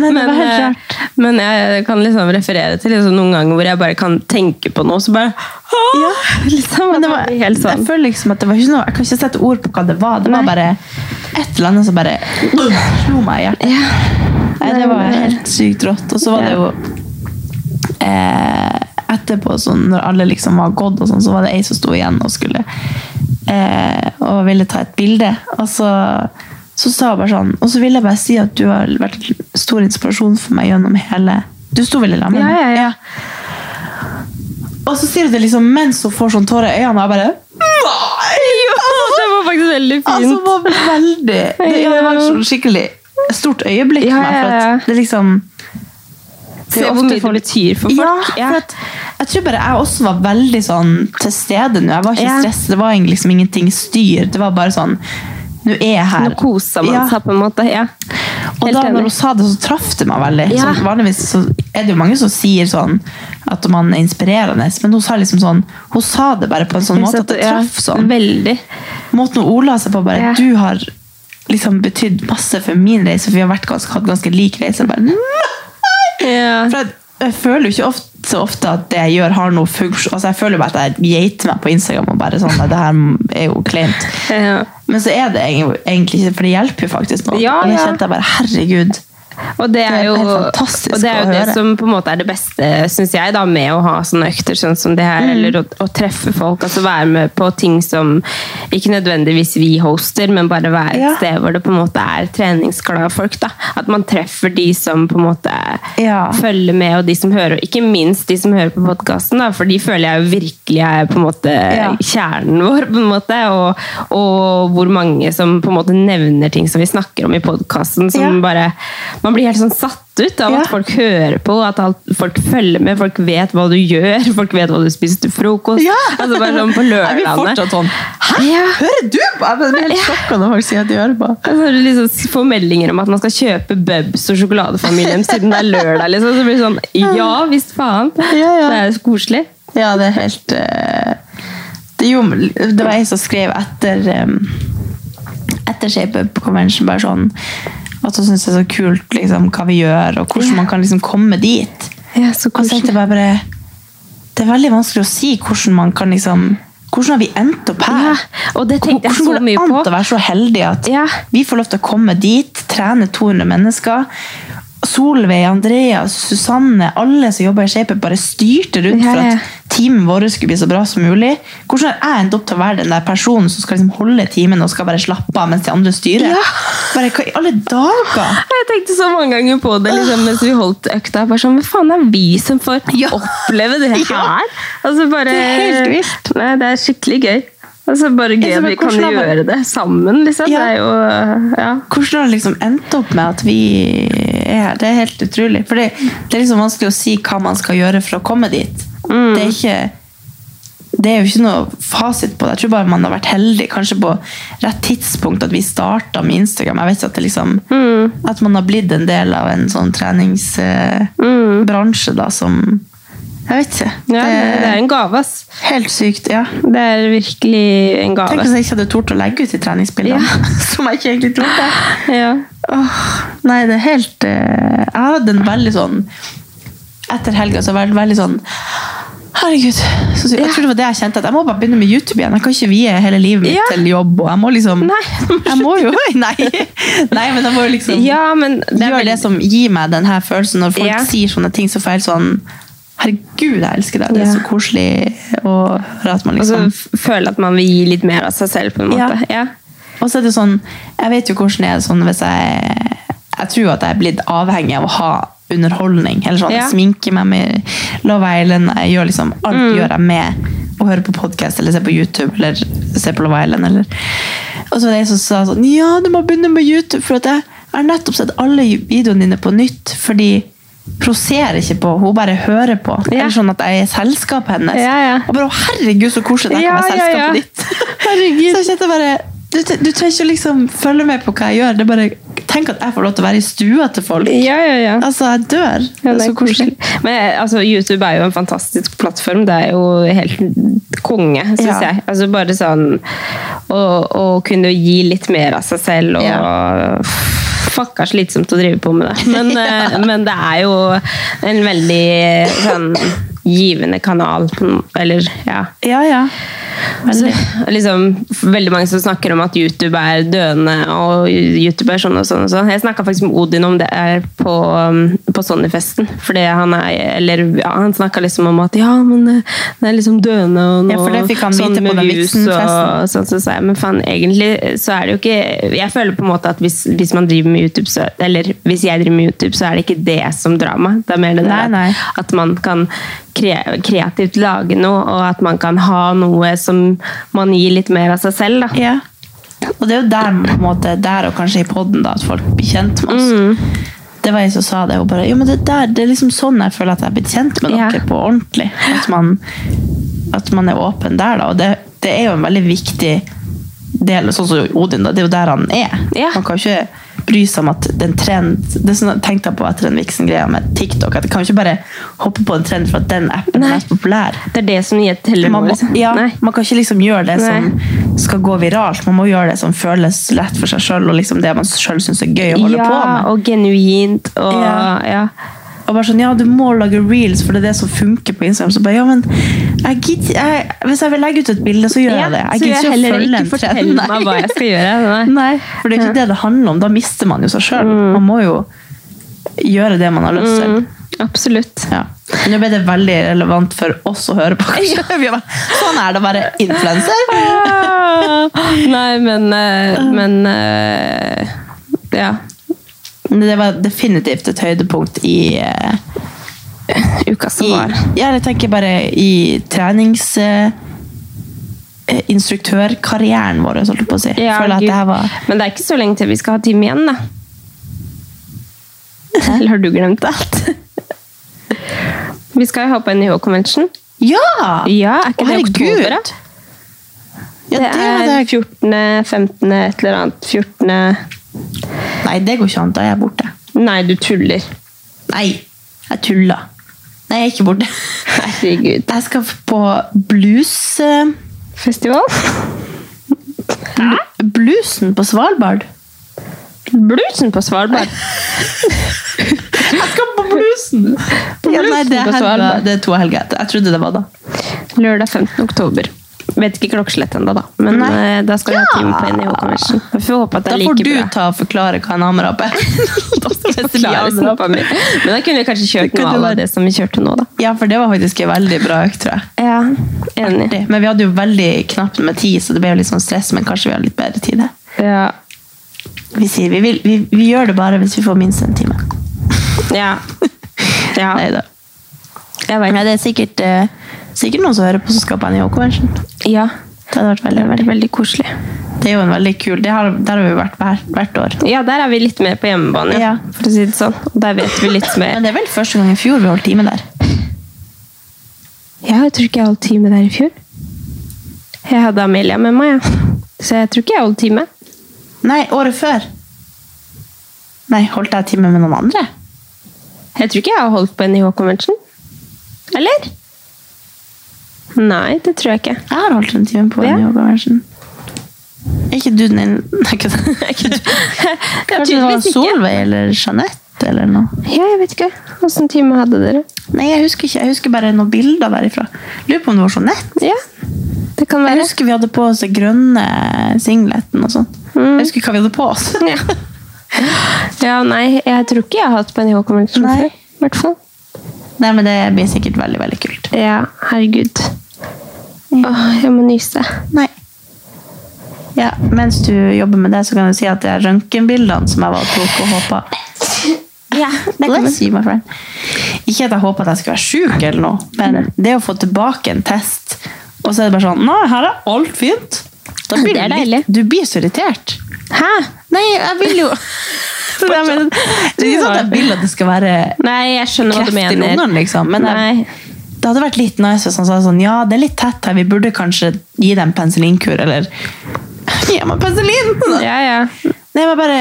A: Nei, det var helt
B: eh,
A: rart.
B: men jeg kan liksom referere til liksom, noen ganger hvor jeg bare kan tenke på noe, så bare «Åh!» liksom,
A: Men det
B: at
A: var,
B: jeg blir helt sånn.
A: Jeg føler liksom at det var ikke noe Jeg kan ikke sette ord på hva det var. Det var
B: Nei.
A: bare et eller annet som bare slo meg i hjertet. Nei, det var helt sykt rått. Og så var det jo eh, Etterpå, sånn, når alle liksom var gått, og sånn, så var det ei som sto igjen og skulle eh, Og ville ta et bilde. Og så, så sa hun bare sånn Og så vil jeg bare si at du har vært stor inspirasjon for meg gjennom hele Du sto vel i lag med
B: Ja,
A: meg?
B: ja, ja.
A: Og så sier du det liksom mens hun får sånn tårer i øynene, og jeg bare
B: Jo, det var faktisk veldig fint.
A: Altså, det var veldig Det, ja, det var et sånn skikkelig stort øyeblikk
B: Ja,
A: for meg. For
B: ja, ja.
A: at det liksom det er
B: Se hvor
A: ofte
B: mye det
A: folk-
B: betyr for folk.
A: Ja, for at Jeg tror bare jeg også var veldig sånn til stede nå. Jeg var ikke
B: Ja.
A: stresset, det var egentlig liksom ingenting styr. Det var bare sånn Nå er jeg her.
B: Nå koser man
A: Ja.
B: seg på en måte. Ja.
A: Og
B: Helt
A: da når
B: enig.
A: hun sa det, så traff det meg veldig.
B: Ja.
A: Sånn, vanligvis så er det jo mange som sier sånn at man er inspirerende, men hun sa liksom sånn Hun sa det bare på en sånn måte at det
B: Ja,
A: traff sånn.
B: Veldig.
A: Måten hun ordla seg på, bare
B: Ja.
A: Du har liksom betydd masse for min reise, for vi har vært ganske, hatt ganske lik reise. Jeg Bare, "Mm."
B: Ja.
A: for jeg, jeg føler jo ikke ofte, så ofte at det jeg gjør, har noe funksjon. Altså, jeg føler bare at jeg geiter meg på Instagram og bare sånn at det her er jo kleint.
B: Ja.
A: Men så er det egen- egentlig ikke, for det hjelper jo faktisk noe.
B: Ja,
A: og det
B: ja.
A: kjente jeg bare, herregud.
B: Og det
A: Det
B: er
A: er
B: jo,
A: helt fantastisk
B: og det, er
A: å
B: jo det
A: høre.
B: som på en måte er det beste, syns jeg, da, med å ha sånne økter sånn som det her.
A: Mm.
B: Eller å, å treffe folk. altså Være med på ting som ikke nødvendigvis vi hoster, men bare være
A: Ja.
B: et sted hvor det på en måte er treningsglade folk. da, At man treffer de som på en måte
A: Ja.
B: følger med, og de som hører. og Ikke minst de som hører på podkasten, for de føler jeg jo virkelig er på en måte
A: Ja.
B: kjernen vår. på en måte, og, og hvor mange som på en måte nevner ting som vi snakker om i podkasten. som
A: Ja.
B: bare Man blir helt sånn satt ut av
A: Ja.
B: at folk hører på, at alt, folk følger med, folk vet hva du gjør, folk vet hva du spiser til frokost.
A: Ja.
B: altså bare sånn på
A: Jeg blir
B: lørdagene.
A: fortsatt sånn Hæ?
B: Ja.
A: Hører du på? Jeg blir helt sjokka når folk sier at de hører på.
B: Og så er det liksom får meldinger om at man skal kjøpe Bubs og sjokoladefamilien siden det er lørdag. Liksom. Så blir det sånn Ja visst faen!
A: Ja, ja.
B: Det er jo så koselig.
A: Ja, det er helt eh, det, gjorde, det var jeg som skrev etter um, etter Shape Up Convention bare sånn at hun syns det er så kult liksom, hva vi gjør, og hvordan
B: Ja.
A: man kan liksom komme dit.
B: Ja, så
A: Og så tenkte jeg bare, bare Det er veldig vanskelig å si hvordan man kan liksom Hvordan har vi endt opp her?
B: Ja, og det tenkte jeg
A: hvordan
B: så mye
A: går det
B: på.
A: an å være så heldig at
B: Ja.
A: vi får lov til å komme dit, trene 200 mennesker? Solveig, Andreas, Susanne, alle som jobber i Shaper, bare styrte rundt
B: Ja, ja.
A: for at teamet vårt skulle bli så bra som mulig. Hvordan har jeg endt opp til å være den der personen som skal liksom holde timen og skal bare slappe av mens de andre styrer?
B: Ja.
A: Bare, hva i alle dager?
B: Jeg tenkte så mange ganger på det liksom, mens vi holdt økta. Bare sånn, Hva faen er vi som får oppleve det her?
A: Ja.
B: Altså, bare,
A: Det er helt vilt.
B: Nei, det er skikkelig gøy. Altså, bare gøy
A: Jeg
B: at
A: skjønner
B: vi kan
A: hvordan det er.
B: gjøre det sammen, liksom.
A: Ja.
B: Det er jo ja.
A: Hvordan har det liksom endt opp med at vi er her? Det er helt utrolig. For det, det er liksom vanskelig å si hva man skal gjøre for å komme dit.
B: Mm.
A: Det, er ikke, det er jo ikke noe fasit på det. Jeg tror bare man har vært heldig, kanskje på rett tidspunkt at vi starta med Instagram. Jeg vet ikke at, det liksom,
B: Mm,
A: at man har blitt en del av en sånn treningsbransje da, som Jeg vet ikke.
B: mm. Ja, det, det er
A: det
B: en gave, ass.
A: er helt sykt, ja.
B: Det er virkelig en
A: Tenk
B: gave.
A: hvis jeg ikke hadde tort å legge ut de treningsbildene. Som jeg ikke egentlig torde.
B: Ja.
A: Åh, nei, det er helt eh, Jeg hadde en veldig sånn Etter helga så var det veldig sånn Herregud. Så, jeg tror det var det jeg kjente. At jeg må bare begynne med YouTube igjen. Jeg kan ikke vie hele livet mitt
B: Ja.
A: til jobb. Og jeg må liksom
B: Nei.
A: Jeg må jo Nei, nei men jeg må jo liksom
B: ja, men det er
A: gjøre
B: veldig-
A: det som gir meg den her følelsen. Når folk
B: Ja.
A: sier sånne ting, så får jeg helt sånn Herregud, jeg elsker deg. Det er
B: Ja. Altså,
A: så koselig å høre at man
B: Og så
A: liksom
B: f- føle at man vil gi litt mer av seg selv, på en
A: Ja.
B: måte. Ja.
A: Og så er det sånn, jeg vet jo hvordan jeg er sånn hvis jeg Jeg tror at jeg er blitt avhengig av å ha underholdning. Eller sånn,
B: Ja.
A: Jeg sminker meg med Love Island. Jeg gjør liksom, alt
B: Mm.
A: gjør jeg med å høre på podkast eller se på YouTube eller se på Love Island. Eller. Og så var det en som sa sånn Ja, du må begynne med YouTube, for at jeg jeg har nettopp sett alle videoene dine på nytt. fordi hun ser ikke på, hun bare hører på.
B: Ja.
A: Eller sånn at jeg er i selskapet hennes.
B: Ja, ja.
A: Og bare, «Å, herregud, så koselig at jeg
B: Ja,
A: kan være i
B: ja,
A: selskapet
B: ja.
A: ditt.
B: Herregud.
A: Så jeg kjente bare du, tre- du trenger ikke liksom følge med på hva jeg gjør. Det er bare, tenk at jeg får lov til å være i stua til folk.
B: ja, ja, ja.
A: Altså, jeg dør.
B: Ja,
A: det er så koselig.
B: Men eh, altså, YouTube er jo en fantastisk plattform. Det er jo helt konge, syns
A: Ja.
B: jeg. Altså bare sånn å, å kunne gi litt mer av seg selv og Fucka slitsomt å drive på med det. Men, eh, men det er jo en veldig eh, sånn givende kanal. på en- Eller, ja.
A: Ja, ja.
B: Så,
A: Veldig.
B: liksom, veldig mange som snakker om at YouTube er døende, og YouTube er sånn og sånn. og sånn. Jeg snakka faktisk med Odin om det her på, um, på Sonnyfesten. Fordi han er, eller, ja, han snakka liksom om at ja, men eh, det er liksom døende og sånn
A: Ja, for det fikk han vite på
B: med
A: den
B: views
A: vitsenfesten.
B: og sånn. Så sa jeg, men faen, egentlig så er det jo ikke Jeg føler på en måte at hvis, hvis man driver med YouTube, så, eller hvis jeg driver med YouTube, så er det ikke det som drar meg. Det er mer det der
A: Nei,
B: at-
A: nei.
B: at man kan kre kreativt lage noe, og at man kan ha noe som man gir litt mer av seg selv. Da.
A: Ja.
B: Mm.
A: Og det er jo der, på en måte, der og kanskje i podden da, at folk blir kjent med oss. Det var ei som sa det. Hun bare Jo, men det der, det er liksom sånn jeg føler at jeg er blitt kjent med
B: Ja.
A: dere på ordentlig. At man, at man er åpen der, da. Og det, det er jo en veldig viktig del, sånn som Odin, da. Det er jo der han er.
B: Ja.
A: Man kan ikke bry seg om at den trend Det er sånn jeg tenkte på etter den Vixen-greia med TikTok, at jeg kan ikke bare hoppe på en trend for at den appen
B: Nei.
A: er mest populær.
B: Det er det som gir teller nå.
A: Man, må,
B: liksom.
A: ja,
B: Nei.
A: man kan ikke liksom gjøre det
B: Nei.
A: som skal gå viralt. Man må gjøre det som føles lett for seg sjøl, og liksom det man sjøl syns er gøy å holde
B: ja,
A: på med.
B: og genuint. Og,
A: Ja.
B: ja.
A: Og bare sånn, ja, du må lage reels, for det er det som funker på Instagram. Så bare, ja, men jeg gidder, jeg, Hvis jeg vil legge ut et bilde, så gjør
B: Ja,
A: jeg det.
B: så
A: Jeg gidder
B: jeg
A: ikke å
B: heller
A: følge
B: ikke
A: en
B: fortelle
A: trend.
B: meg hva jeg skal gjøre. Nei.
A: Nei, for det er ikke det det handler om. Da mister man jo seg sjøl. Man må jo gjøre det man har lyst til.
B: Mm, absolutt.
A: Ja. Men Nå ble det veldig relevant for oss å høre på. kanskje. Vi er bare, Sånn er det å være influenser!
B: Nei, men eh, Men eh, ja.
A: Men Det var definitivt et høydepunkt i, eh,
B: Uka som
A: i
B: var.
A: Ja, jeg tenker bare i eh, treningsinstruktørkarrieren vår, holdt jeg på å si.
B: Ja,
A: Føler at
B: gud.
A: det her var
B: Men det er ikke så lenge til vi skal ha time igjen, da. Eller har du glemt alt? Vi skal jo ha på NIH-convention.
A: Ja!
B: Ja, er ikke
A: Å,
B: det
A: herregud!
B: oktober, da?
A: Ja,
B: det er 14., 15., et eller annet. 14.
A: Nei, det går ikke an. Da er jeg borte.
B: Nei, du tuller.
A: Nei, jeg tuller. Nei, jeg er ikke borte.
B: Herregud.
A: Jeg skal på blues... eh,
B: Festival?
A: Bluesen på Svalbard.
B: Bluesen på Svalbard.
A: Jeg skal på bluesen! Ja, nei, det,
B: Bluesen
A: er
B: på
A: helga,
B: Svalbard.
A: det er to helger etter. Jeg trodde det var da.
B: Lørdag 15. oktober. Vet ikke klokkeslett ennå, da. Men
A: Nei.
B: eh, da skal vi
A: Ja.
B: ha time på NIH Convention. Vi får håpe at det
A: Da
B: er
A: får
B: like
A: du
B: bra.
A: ta og forklare hva en amrap er. Da skal jeg
B: Klare
A: si amrap.
B: snappa mi. Men da kunne vi kanskje kjørt
A: Kunne
B: noe
A: du
B: av
A: bare-
B: det som vi kjørte nå, da.
A: Ja, for det var faktisk en veldig bra økt, tror jeg.
B: Ja, enig.
A: Det- Men vi hadde jo veldig knapt med tid, så det ble jo litt sånn stress, men kanskje vi har litt bedre tid her.
B: Ja.
A: Vi sier vi, vil, vi, vi gjør det bare hvis vi får minst en time.
B: Ja. ja.
A: Neida.
B: Jeg vet.
A: Nei, det er sikkert, eh, sikkert noen som hører på som skal på NIH-konvensjon.
B: Ja.
A: Det hadde vært veldig,
B: Det har
A: veldig
B: vært veldig koselig.
A: Det er jo en veldig kul Det har, der har vi jo vært hver, hvert år.
B: Ja, der er vi litt mer på hjemmebane,
A: Ja.
B: for å si det sånn. Og der vet vi litt mer.
A: Men det er vel første gang i fjor vi holdt time der.
B: Ja, jeg tror ikke jeg holdt time der i fjor. Jeg hadde Amelia med meg, ja. så jeg tror ikke jeg holdt time.
A: Nei, året før. Nei, holdt jeg time med noen andre?
B: Jeg tror ikke jeg har holdt på NIH-convention. Eller? Nei, det tror jeg ikke.
A: Jeg har holdt en time på
B: Ja.
A: NIH-konvensjon. Er ikke du den inn... Nei, ikke det.
B: Ja,
A: Kanskje det var
B: tydeligvis ikke.
A: Solveig eller Jeanette eller noe.
B: Ja, jeg vet ikke. Åssen time hadde dere?
A: Nei, jeg husker ikke. Jeg husker bare noen bilder derifra. Lurer på om det var Jeanette.
B: Ja, det kan
A: Jeg
B: være.
A: husker vi hadde på oss den grønne singleten og sånn.
B: Mm.
A: Jeg husker hva vi hadde på oss.
B: Ja. ja, nei, jeg tror ikke jeg har hatt på NIH-convention
A: Nei.
B: før. I hvert fall.
A: Nei, men det blir sikkert veldig, veldig kult.
B: Ja, herregud. Åh, jeg må nyse.
A: Nei. Ja, mens du jobber med det, så kan du si at det er røntgenbildene som jeg var og tok og håpet.
B: Ja, det kan
A: Bless you, my friend. Ikke at jeg håpet at jeg skulle være syk eller noe,
B: Mm.
A: men det å få tilbake en test, og så er det bare sånn, nei, her er alt fint. Da blir
B: Det er
A: du
B: deilig.
A: litt, du blir så irritert.
B: Hæ?
A: Nei, jeg vil jo... Det er men- det er ikke sånn at jeg vil at det skal være
B: Nei, jeg skjønner hva
A: kreft i
B: du mener.
A: lungene, liksom. Men jeg,
B: Nei.
A: det hadde vært litt nice hvis han sa sånn Ja, det er litt tett her, vi burde kanskje gi deg en penicillinkur, eller Gi meg penicillin!
B: Ja, ja.
A: Nei, jeg var bare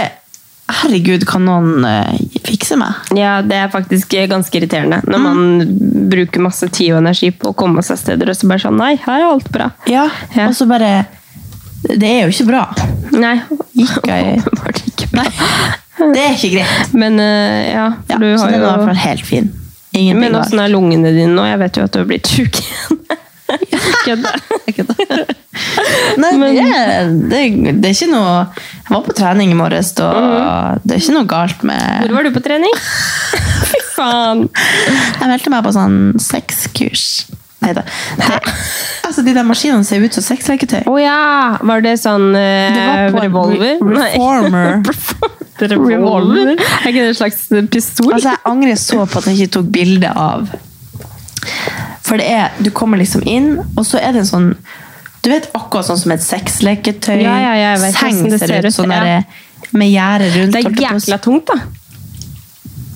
A: Herregud, kan noen eh, fikse meg?
B: Ja, det er faktisk eh, ganske irriterende når man
A: Mm.
B: bruker masse tid og energi på å komme seg steder, og så bare sånn Nei, her er alt bra.
A: Ja.
B: Ja.
A: Og så bare Det er jo ikke bra.
B: Nei.
A: Gikk jeg
B: Åpenbart ikke.
A: Nei. Det er ikke greit.
B: Men eh, ja,
A: Ja,
B: for du
A: så
B: har
A: den var i hvert
B: jo
A: fall helt fin. Ingenting
B: Men altså, åssen
A: galt.
B: er lungene dine nå? Jeg vet jo at du har blitt sjuk igjen. Kødda.
A: Nei,
B: men-
A: det, er- det, er- det er ikke noe Jeg var på trening i morges, og
B: Mhm.
A: det er ikke noe galt med
B: Hvor var du på trening? Fy faen!
A: Jeg meldte meg på sånn sexkurs. Nei da. Det- Altså, de der maskinene ser ut som sexleketøy.
B: Å ja! Var det sånn eh,
A: Det var på en
B: revolver?
A: re-
B: Nei.
A: reformer.
B: revolver? Er ikke det en slags eh, pistol?
A: Altså, jeg angrer så på at jeg ikke tok bilde av For det er Du kommer liksom inn, og så er det en sånn Du vet akkurat sånn som et sexleketøy?
B: Ja, ja, ja, jeg vet
A: seng
B: hvordan det
A: ser
B: ser
A: ut
B: ut,
A: sånn
B: ja.
A: der, med gjerde rundt.
B: det er
A: holdt jeg på å si.
B: jækla tungt, da.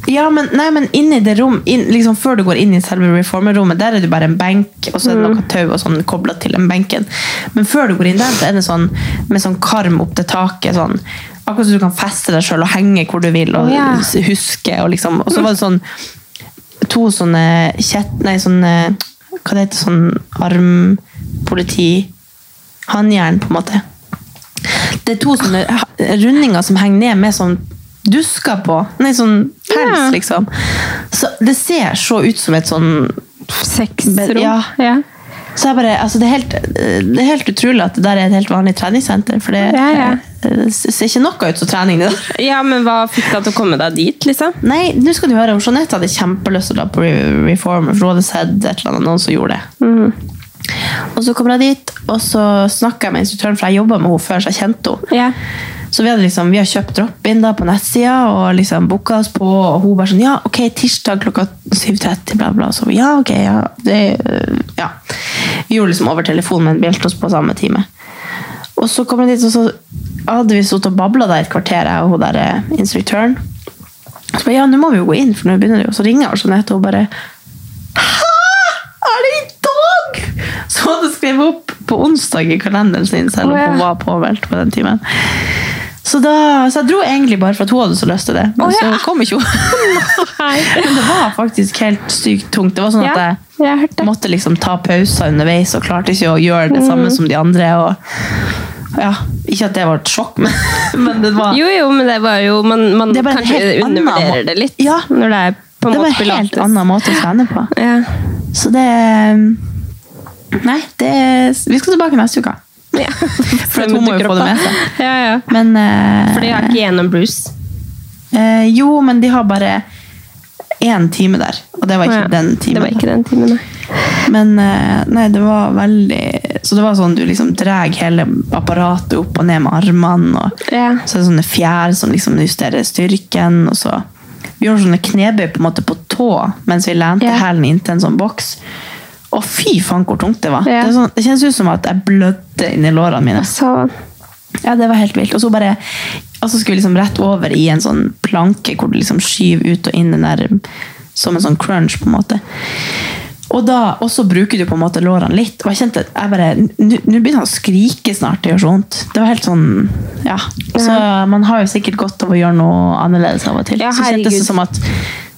A: Ja, men, nei, men inni det rom, inn, liksom Før du går inn i selve reformerrommet, der er det bare en benk, og så
B: Mm.
A: er det noe tau og sånn kobla til den benken. Men før du går inn der, så er det sånn med sånn karm opp til taket. sånn Akkurat som du kan feste deg sjøl og henge hvor du vil, og
B: Å, ja.
A: s- huske. Og liksom, og så var det sånn to sånne kjett... Nei, sånne Hva det heter sånn armpoliti Håndjern, på en måte. Det er to sånne ha- rundinger som henger ned med sånn dusker på. Nei, sånn pels,
B: Ja.
A: liksom. Så det ser så ut som et sånn
B: Sexrom.
A: Be- ja.
B: ja.
A: Så jeg bare, altså det, er helt, det er helt utrolig at det der er et helt vanlig treningssenter. For det,
B: Ja, ja.
A: det ser ikke noe ut som trening. det der.
B: Ja, men hva fikk deg til å komme deg dit, liksom?
A: Nei, nå skal du høre om Jeanette hadde kjempelyst til å dra på Re- Reformer, for hun hadde sett et eller annet, noen som gjorde det.
B: Mhm.
A: Og så kommer jeg dit, og så snakker jeg med instruktøren, for jeg jobbet med henne før, så jeg kjente henne.
B: Ja.
A: Så vi, hadde liksom, vi har kjøpt drop-in da på nettsida og liksom booka oss på. Og hun bare sånn Ja, ok, tirsdag klokka 7.30, bla, bla. Så vi, ja, ok, ja. Det, øh, ja. Vi gjorde liksom over telefon, men meldte oss på samme time. Og så kom jeg dit, og så hadde vi sittet og babla der et kvarter, jeg og hun der eh, instruktøren. Så bare, ja, nå må vi jo gå inn, for nå begynner det jo. Så ringer jeg Jeanette, og hun bare Hæ! Er det i dag?! Så hun hadde skrevet opp på onsdag i kalenderen sin, selv om
B: Å, ja.
A: hun var påmeldt på den timen. Så, da, så jeg dro egentlig bare for at hun hadde så lyst til det, men
B: Å, ja.
A: så kom ikke hun. men det var faktisk helt sykt tungt. Det var sånn
B: Ja,
A: at jeg
B: jeg har hørt det.
A: måtte liksom ta pauser underveis og klarte ikke å gjøre det
B: Mm.
A: samme som de andre. Og, ja, ikke at det var et sjokk, men, men det var
B: Jo, jo, men det var jo Man, man
A: Det er bare en
B: kanskje
A: helt annen
B: undervurderer
A: må-
B: det litt
A: Ja.
B: når det er på en
A: det var
B: måte
A: en helt
B: pilates.
A: annen måte å trene på.
B: Ja.
A: Så det eh, Nei, det, vi skal tilbake neste uke.
B: Ja.
A: For at hun må jo få det med seg.
B: Ja, ja.
A: Men eh,
B: For det er ikke gjennom Bruce.
A: eh, Jo, men de har bare én time der, og det var ikke
B: Ja.
A: den
B: Det var
A: timen.
B: ikke den timen, nei.
A: Men eh, nei, det var veldig Så det var sånn du liksom drar hele apparatet opp og ned med armene. Og,
B: Ja.
A: Så er det sånne fjær som liksom justerer styrken. og så Vi gjorde sånne knebøy på en måte på tå mens vi lente
B: Ja.
A: hælen inntil en sånn boks. Å, fy faen, hvor tungt det var.
B: Ja.
A: Det, er sånn, det kjennes ut som at jeg blødde inni lårene mine.
B: Så
A: Ja, det var helt vilt. Og så bare og så skulle vi liksom rett over i en sånn planke hvor du liksom skyver ut og inn den der som en sånn crunch, på en måte. Og da, og så bruker du på en måte lårene litt. Og jeg kjente at jeg bare, n- nå begynner han å skrike snart, det gjør så vondt. Det var helt sånn, ja. Så man har jo sikkert godt av å gjøre noe annerledes av og til.
B: Ja,
A: så kjentes
B: herregud.
A: det som at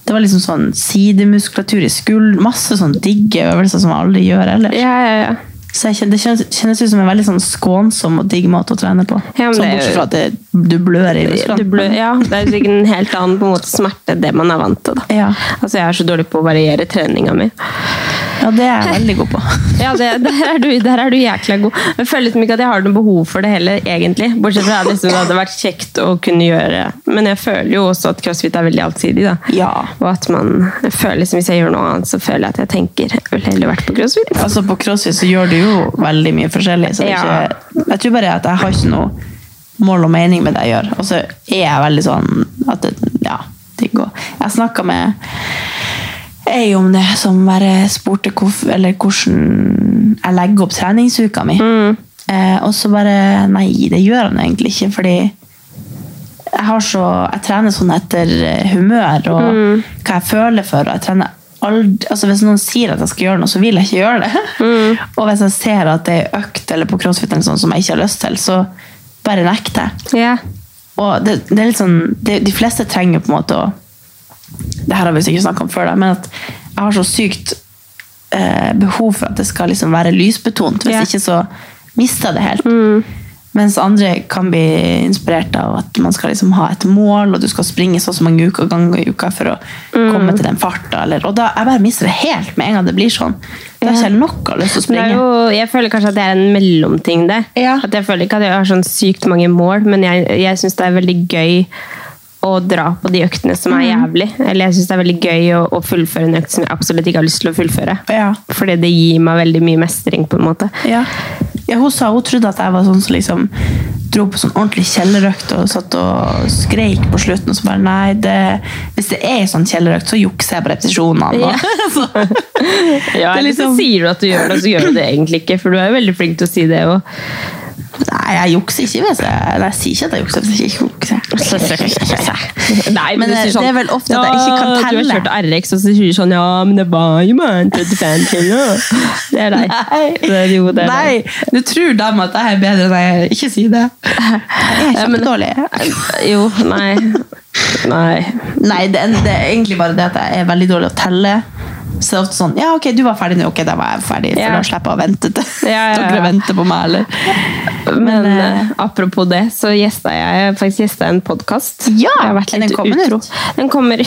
A: det var liksom sånn sidemuskulatur i skuld, masse sånn digge øvelser som jeg aldri gjør ellers.
B: Ja, ja, ja.
A: Så jeg kjenner, det kjennes, kjennes ut som en veldig sånn skånsom og digg måte å trene på.
B: Ja, men
A: sånn
B: det er
A: bortsett
B: jo-
A: fra at det, du blør i musklene.
B: Det blø, ja, det er sikkert en helt annen på en måte, smerte enn det man er vant til. Da.
A: Ja.
B: Altså, jeg er så dårlig på å variere treninga mi.
A: Ja, det er jeg veldig god på.
B: Ja, det, der, er du, der er du jækla god. Jeg føler liksom ikke at jeg har noe behov for det heller, egentlig. Bortsett fra at liksom, det hadde vært kjekt å kunne gjøre. Men jeg føler jo også at crossfit er veldig allsidig. Da.
A: Ja.
B: Og at man jeg føler liksom, Hvis jeg gjør noe annet, så føler jeg at jeg tenker Jeg ville heller vært på crossfit.
A: Altså På crossfit så gjør du jo veldig mye forskjellig. Så det er
B: Ja.
A: ikke, jeg tror bare at jeg har ikke noe mål og mening med det jeg gjør. Og så er jeg veldig sånn at det, ja, det går. Jeg snakka med ei om det, som bare spurte hvorf- eller hvordan jeg legger opp treningsuka mi. Eh, og så bare Nei, det gjør han egentlig ikke, fordi jeg, har så, jeg trener sånn etter eh, humør og hva jeg føler for. Og jeg trener aldri, altså hvis noen sier at jeg skal gjøre noe, så vil jeg ikke gjøre det. og hvis jeg ser at det er økt eller på crossfit eller sånn som jeg ikke har lyst til, så bare nekter jeg.
B: Ja.
A: Og det, det er litt sånn, det, de fleste trenger på en måte å Det her har vi sikkert snakka om før, da, men at jeg har så sykt eh, behov for at det skal liksom være lysbetont. Hvis
B: Ja. Mm.
A: ikke så mister jeg det helt. Mens andre kan bli inspirert av at man skal liksom ha et mål, og du skal springe så og så mange uker ganger i uka for å
B: Mm.
A: komme til den farta. eller- Og da jeg bare mister det helt med en gang det blir sånn. Da har jeg ikke noe lyst til å
B: Men Det er
A: springe.
B: jo, jeg føler kanskje at det er en mellomting det.
A: Ja.
B: At jeg føler ikke at jeg har sånn sykt mange mål, men jeg, jeg syns det er veldig gøy å dra på de øktene som er jævlig. Eller jeg syns det er veldig gøy å, å fullføre en økt som jeg absolutt ikke har lyst til å fullføre.
A: Ja.
B: Fordi det gir meg veldig mye mestring, på en måte.
A: Ja. ja, hun sa hun trodde at jeg var sånn som liksom dro på sånn ordentlig kjellerøkt og satt og skreik på slutten. Og så bare nei, det, hvis det er en sånn kjellerøkt, så jukser jeg på repetisjonene. Og,
B: Ja.
A: så,
B: Ja,
A: Det er
B: eller så
A: liksom-
B: sånn- sier du at du gjør det, og så gjør du det egentlig ikke. For du er jo veldig flink til å si det. Og,
A: Nei, jeg jukser ikke hvis jeg Nei, jeg sier ikke at jeg jukser hvis jeg ikke jukser.
B: Nei,
A: Men
B: du
A: det-
B: sier sånn,
A: det er vel ofte at jeg ikke kan
B: «Ja, Du
A: telle».
B: har kjørt RX, og så sier du sånn Ja, men det var jo bare en 35 kilo. Det er deg. Det er jo det. er deg.
A: Nei, du tror dem at jeg er bedre enn jeg er. Ikke si det. Jeg er
B: Ja, men-
A: kjempedårlig.
B: Jo, nei. Nei.
A: Nei, det, er- det er egentlig bare det at jeg er veldig dårlig å telle. Så det er ofte sånn Ja, ok, du var ferdig nå. Ok, da var jeg ferdig. For
B: Ja.
A: da slipper jeg å vente til
B: Ja, ja, ja.
A: dere venter på meg, eller?
B: Men
A: Men,
B: eh, apropos det, så gjesta jeg faktisk gjesta en podkast.
A: Ja,
B: Jeg har vært
A: er
B: litt
A: den kommet
B: utro.
A: ut?
B: Den kommer, den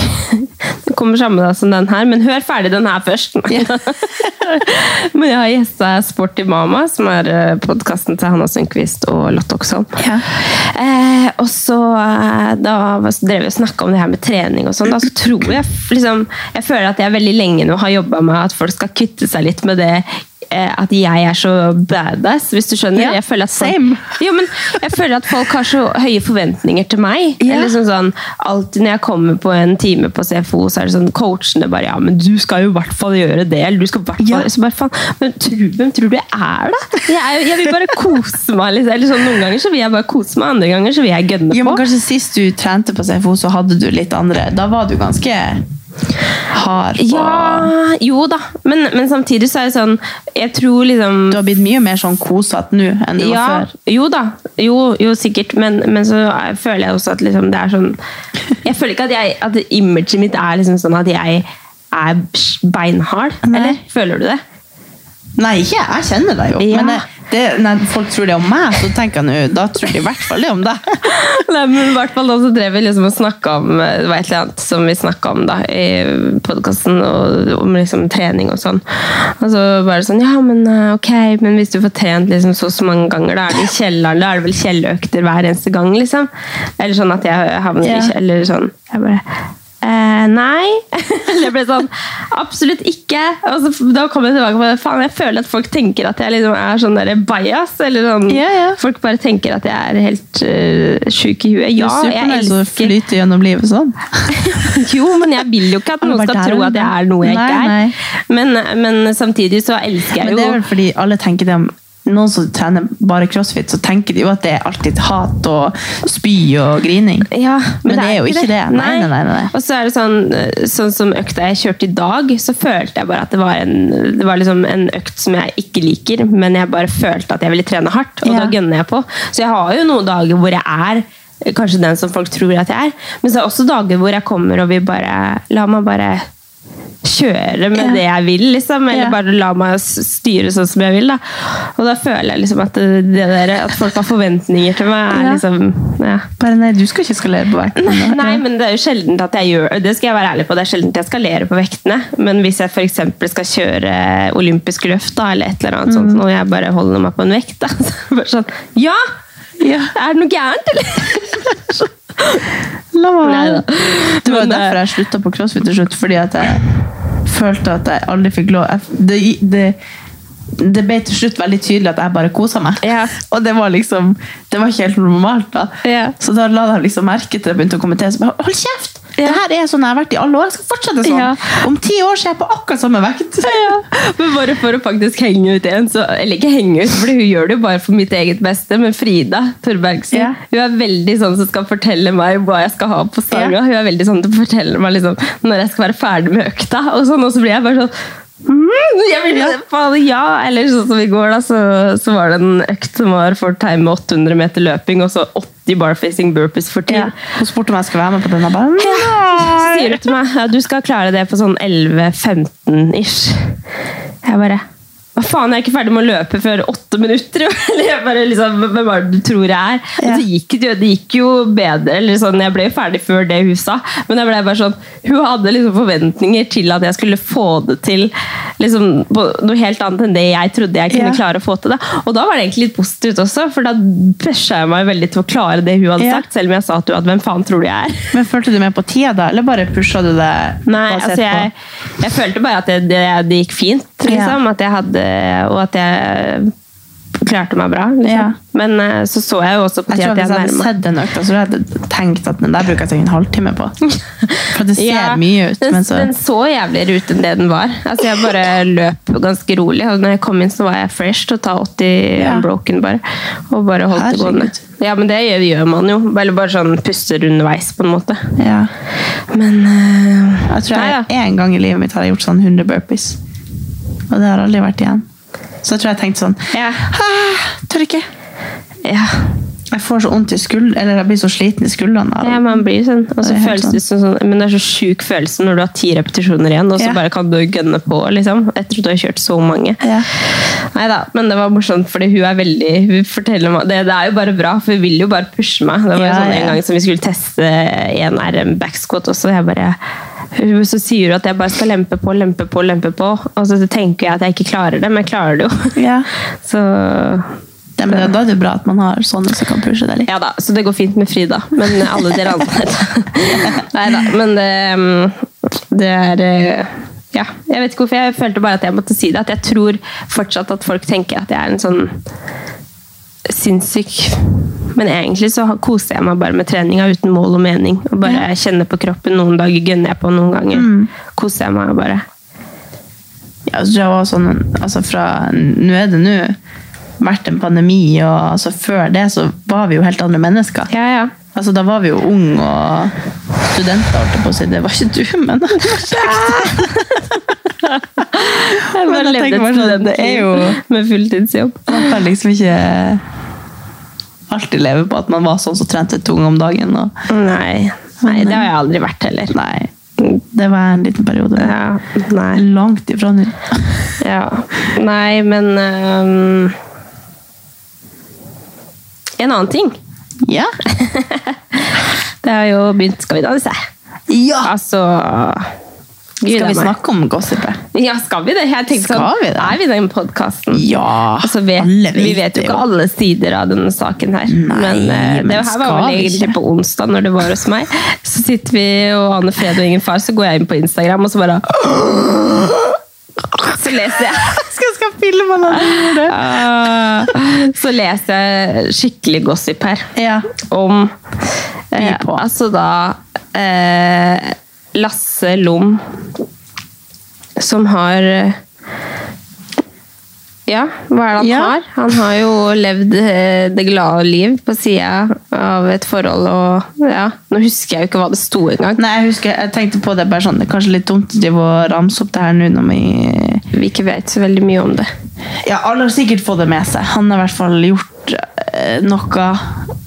B: kommer samme dag som den her, men hør ferdig den her først. men jeg har gjesta Sporty Mama, som er podkasten til Hanna Sundquist og Lotte Oksholm.
A: Ja.
B: Eh, og så eh, da var- drev vi og snakka om det her med trening og sånn. Da så tror jeg liksom Jeg føler at jeg veldig lenge nå har jobba med at folk skal kvitte seg litt med det eh, at jeg er så badass, hvis du skjønner.
A: Ja,
B: jeg føler at folk,
A: same.
B: jo, men jeg føler at folk har så høye forventninger til meg.
A: Ja.
B: Eller sånn sånn, alltid når jeg kommer på en time på CFO, så er det sånn coachene bare Ja, men du skal jo i hvert fall gjøre det. Eller du skal i hvert fall
A: Ja.
B: Så bare faen, men tro, hvem tror du jeg er, da? Jeg, er, jo- jeg vil bare kose meg. Liksom. Eller sånn, Noen ganger så vil jeg bare kose meg, andre ganger så vil jeg gønne
A: Jo, men
B: på.
A: kanskje sist du trente på CFO, så hadde du litt andre Da var du ganske hard på
B: Ja, jo da, men, men samtidig så er det sånn Jeg tror liksom
A: Du har blitt mye mer sånn kosete nå enn du var før.
B: Jo da, jo, jo sikkert, men, men så er- føler jeg også at liksom det er sånn Jeg føler ikke at, jeg, at imaget mitt er liksom sånn at jeg er beinhard,
A: Nei.
B: eller? Føler du det?
A: Nei, ikke jeg. Jeg kjenner deg jo.
B: Ja.
A: Men jeg, det, når folk tror det om meg, så tenker jeg nå Da tror de i hvert fall det om deg.
B: Nei, men i hvert fall da så drev vi liksom og snakket om eh, det var et eller annet som vi snakket om da i podcasten og om liksom trening og sånn og så bare sånn, ja men eh, ok men hvis du får trent liksom så og så mange ganger da er det i kjelleren, da er det vel kjelleøkter hver eneste gang liksom eller sånn at jeg havner
A: Ja.
B: i kjelleren eller sånn, jeg bare Eh, nei. Eller jeg ble sånn Absolutt ikke. Og så, da kom jeg tilbake på det. Faen, jeg føler at folk tenker at jeg liksom er sånn der bias. Eller sånn,
A: Ja, ja.
B: Folk bare tenker at jeg er helt uh, sjuk i huet. Ja, jeg
A: å
B: elsker
A: flyte gjennom livet sånn.
B: Jo, men jeg vil jo ikke at
A: Han
B: noen
A: bare
B: skal
A: der,
B: tro at jeg er noe jeg
A: nei,
B: ikke
A: nei.
B: er. Men, men samtidig så elsker jeg
A: Men
B: jo
A: det er vel fordi alle tenker det om noen som trener bare crossfit, så tenker de jo at det er alltid hat og spy og grining.
B: Ja,
A: Men det er jo ikke det. Nei, nei, nei, nei.
B: Og så er det sånn, eh, sånn som økta jeg kjørte i dag, så følte jeg bare at det var, en, det var liksom en økt som jeg ikke liker, men jeg bare følte at jeg ville trene hardt, og
A: Ja.
B: da gønner jeg på. Så jeg har jo noen dager hvor jeg er eh, kanskje den som folk tror at jeg er, men så er det også dager hvor jeg kommer og vil bare La meg bare kjøre med
A: Ja.
B: det jeg vil, liksom. Eller
A: Ja.
B: bare la meg s- styre sånn som jeg vil, da. Og da føler jeg liksom at det det der At folk har forventninger til meg, er
A: Ja.
B: liksom ja.
A: Bare nei, du skal ikke skalere på vekten. da.
B: Nei, men det er jo sjelden at jeg gjør det. skal jeg være ærlig på, det er sjelden at jeg skalerer på vektene. Men hvis jeg f.eks. skal kjøre olympisk løft da, eller et eller annet sånt, og jeg bare holder meg på en vekt, da, så er det bare sånn Ja!
A: Ja,
B: Er det noe gærent, eller?
A: la meg være.
B: Neida.
A: Det var jo
B: Men, eh,
A: derfor jeg slutta på crossfit til slutt, fordi at jeg følte at jeg aldri fikk lov jeg, det, det, det ble til slutt veldig tydelig at jeg bare kosa meg.
B: Ja.
A: Og det var liksom Det var ikke helt normalt, da.
B: Ja.
A: Så da la jeg liksom merke til det jeg begynte å kommentere. Så bare, Hold kjeft!
B: Ja.
A: Det her er sånn jeg har vært i alle år. Jeg skal fortsette sånn.
B: Ja.
A: Om ti år så er jeg på akkurat samme vekt.
B: Men bare for å faktisk henge ut en, så, eller ikke henge ut, for hun gjør det jo bare for mitt eget beste, men Frida Torbergsen,
A: Ja.
B: hun er veldig sånn som skal fortelle meg hva jeg skal ha på stanga.
A: Ja.
B: Hun er veldig sånn som forteller meg liksom, når jeg skal være ferdig med økta, og sånn, og så blir jeg bare sånn «Mm, jeg vil, faen, ja, eller sånn som i går da, så, så var det en økt som var for time 800 meter løping, og så 80 barfacing burpees for tid.
A: Ja. Hun spurte om jeg skulle være med på denne banen.
B: Så sier du til meg ja, du skal klare det på sånn 11-15-ish. Jeg bare Hva faen, jeg er ikke ferdig med å løpe før åtte minutter! jo. Eller jeg bare liksom, Hvem er det du tror jeg er?
A: Ja.
B: Og så gikk det, jo- det gikk jo bedre. eller sånn, Jeg ble jo ferdig før det hun sa. Men jeg ble bare sånn, hun hadde liksom forventninger til at jeg skulle få det til liksom, på noe helt annet enn det jeg trodde jeg kunne
A: Ja.
B: klare å få til. Da. Og da var det egentlig litt positivt også, for da pusha jeg meg veldig til å klare det hun hadde
A: Ja.
B: sagt. Selv om jeg sa til henne at hvem faen tror du jeg er?
A: Men Følte du med på tida, da? Eller bare pusha du det?
B: Nei,
A: basert
B: altså jeg,
A: på-
B: jeg følte bare at det, det, det gikk fint,
A: Ja.
B: liksom. At jeg hadde, og at jeg klarte meg bra. Liksom.
A: Ja.
B: Men eh, så så jeg jo også på
A: Jeg
B: tida
A: tror
B: at
A: Hvis
B: jeg
A: jeg hadde
B: nærma
A: sett den økta, så hadde jeg tenkt at den der bruker jeg sikkert en halvtime på. For det ser
B: Ja,
A: mye ut.
B: den,
A: Men så,
B: den så jævligere ut enn det den var. Altså Jeg bare løp ganske rolig. Og når jeg kom inn, så var jeg fresh til å ta 80
A: Ja.
B: unbroken. bare Og bare holdt det gående.
A: Herregud.
B: Ja, men det gjør, gjør man jo. Eller bare sånn puster underveis, på en måte.
A: ja.
B: Men eh,
A: Jeg tror
B: nei da.
A: jeg en gang i livet mitt har jeg gjort sånn 100 burpees. Og det har aldri vært igjen. Så jeg tror jeg tenkte sånn
B: eh, Ja.
A: ah, Tør ikke.
B: ja.
A: Jeg får så vondt i skulderen, eller jeg blir så sliten i skuldrene. av-
B: ja, man blir sånn. Og
A: Det
B: så
A: er helt
B: føles det som sånn Men det er så sjuk følelse når du har ti repetisjoner igjen, og så
A: Ja.
B: bare kan du gønne på, liksom. Etter at du har kjørt så mange.
A: Ja.
B: Nei da, men det var morsomt, fordi hun er veldig Hun forteller meg Det, det er jo bare bra, for hun vil jo bare pushe meg. Det var jo
A: Ja,
B: sånn
A: ja.
B: en gang som vi skulle teste en RM backsquat også, og jeg bare hun, så sier hun at jeg bare skal lempe på, lempe på, lempe på. Og så tenker jeg at jeg ikke klarer det, men jeg klarer det jo.
A: Ja.
B: Så
A: Det, men da er det jo bra at man har sånne som kan pushe deg litt.
B: ja da, så det går fint med Frida. Men alle dere andre Nei da, men det, mm, det er eh, Ja, jeg vet ikke hvorfor jeg følte bare at jeg måtte si det. At jeg tror fortsatt at folk tenker at jeg er en sånn sinnssyk Men egentlig så har- koser jeg meg bare med treninga uten mål og mening. Og bare kjenner på kroppen. Noen dager gønner jeg på, noen ganger
A: Mm.
B: koser jeg meg bare.
A: Ja, så tror jeg var sånn, altså fra, nå er det nå vært en pandemi, og altså før det så var vi jo helt andre mennesker.
B: Ja, ja.
A: Altså, da var vi jo unge og studenter, holdt jeg på å si. Det var ikke du, men
B: Jeg
A: Men
B: bare
A: jeg
B: levde
A: tenker
B: et
A: bare sånn, det er jo-
B: studentliv med fulltidsjobb.
A: man kan liksom ikke alltid leve på at man var sånn som trente tung om dagen. Og,
B: Nei, nei, det har jeg aldri vært heller.
A: nei, det var en liten periode.
B: Ja, nei.
A: Langt ifra nå.
B: Ja. Nei, men
A: ehm,
B: øhm, En annen ting.
A: Ja.
B: Det har jo begynt Skal vi danse?
A: ja!
B: Altså
A: Ah. Skal
B: Gud a
A: vi
B: meg.
A: snakke om gossipet?
B: Ja, skal vi det? Jeg tenkte
A: Skal
B: sånn,
A: vi det?
B: Er vi den podkasten?
A: Ja!
B: Altså, vet,
A: alle
B: vi vet jo
A: det
B: ikke alle sider av denne saken her.
A: Nei,
B: men eh,
A: men
B: det her var
A: skal
B: vel
A: vi
B: egentlig
A: ikke?
B: på onsdag, når det var hos meg. Så sitter vi og aner fred og ingen far, så går jeg inn på Instagram, og så bare Så leser jeg.
A: Skal jeg skal filme når du gjør det?
B: Ah,
A: Eh,
B: Så leser jeg skikkelig gossip her
A: Ja.
B: om eh,
A: By på.
B: Altså da eh, Lasse Lom som har eh, Ja, hva er det han
A: Ja.
B: har? Han har jo levd eh, det glade liv på sida av et forhold og ja, Nå husker jeg jo ikke hva det sto engang.
A: Nei, jeg husker, jeg tenkte på det bare sånn, det er kanskje litt dumt å drive og ramse opp det her nå når vi
B: Vi ikke vet så veldig mye om det.
A: Ja, alle har sikkert fått det med seg. Han har i hvert fall gjort eh, noe.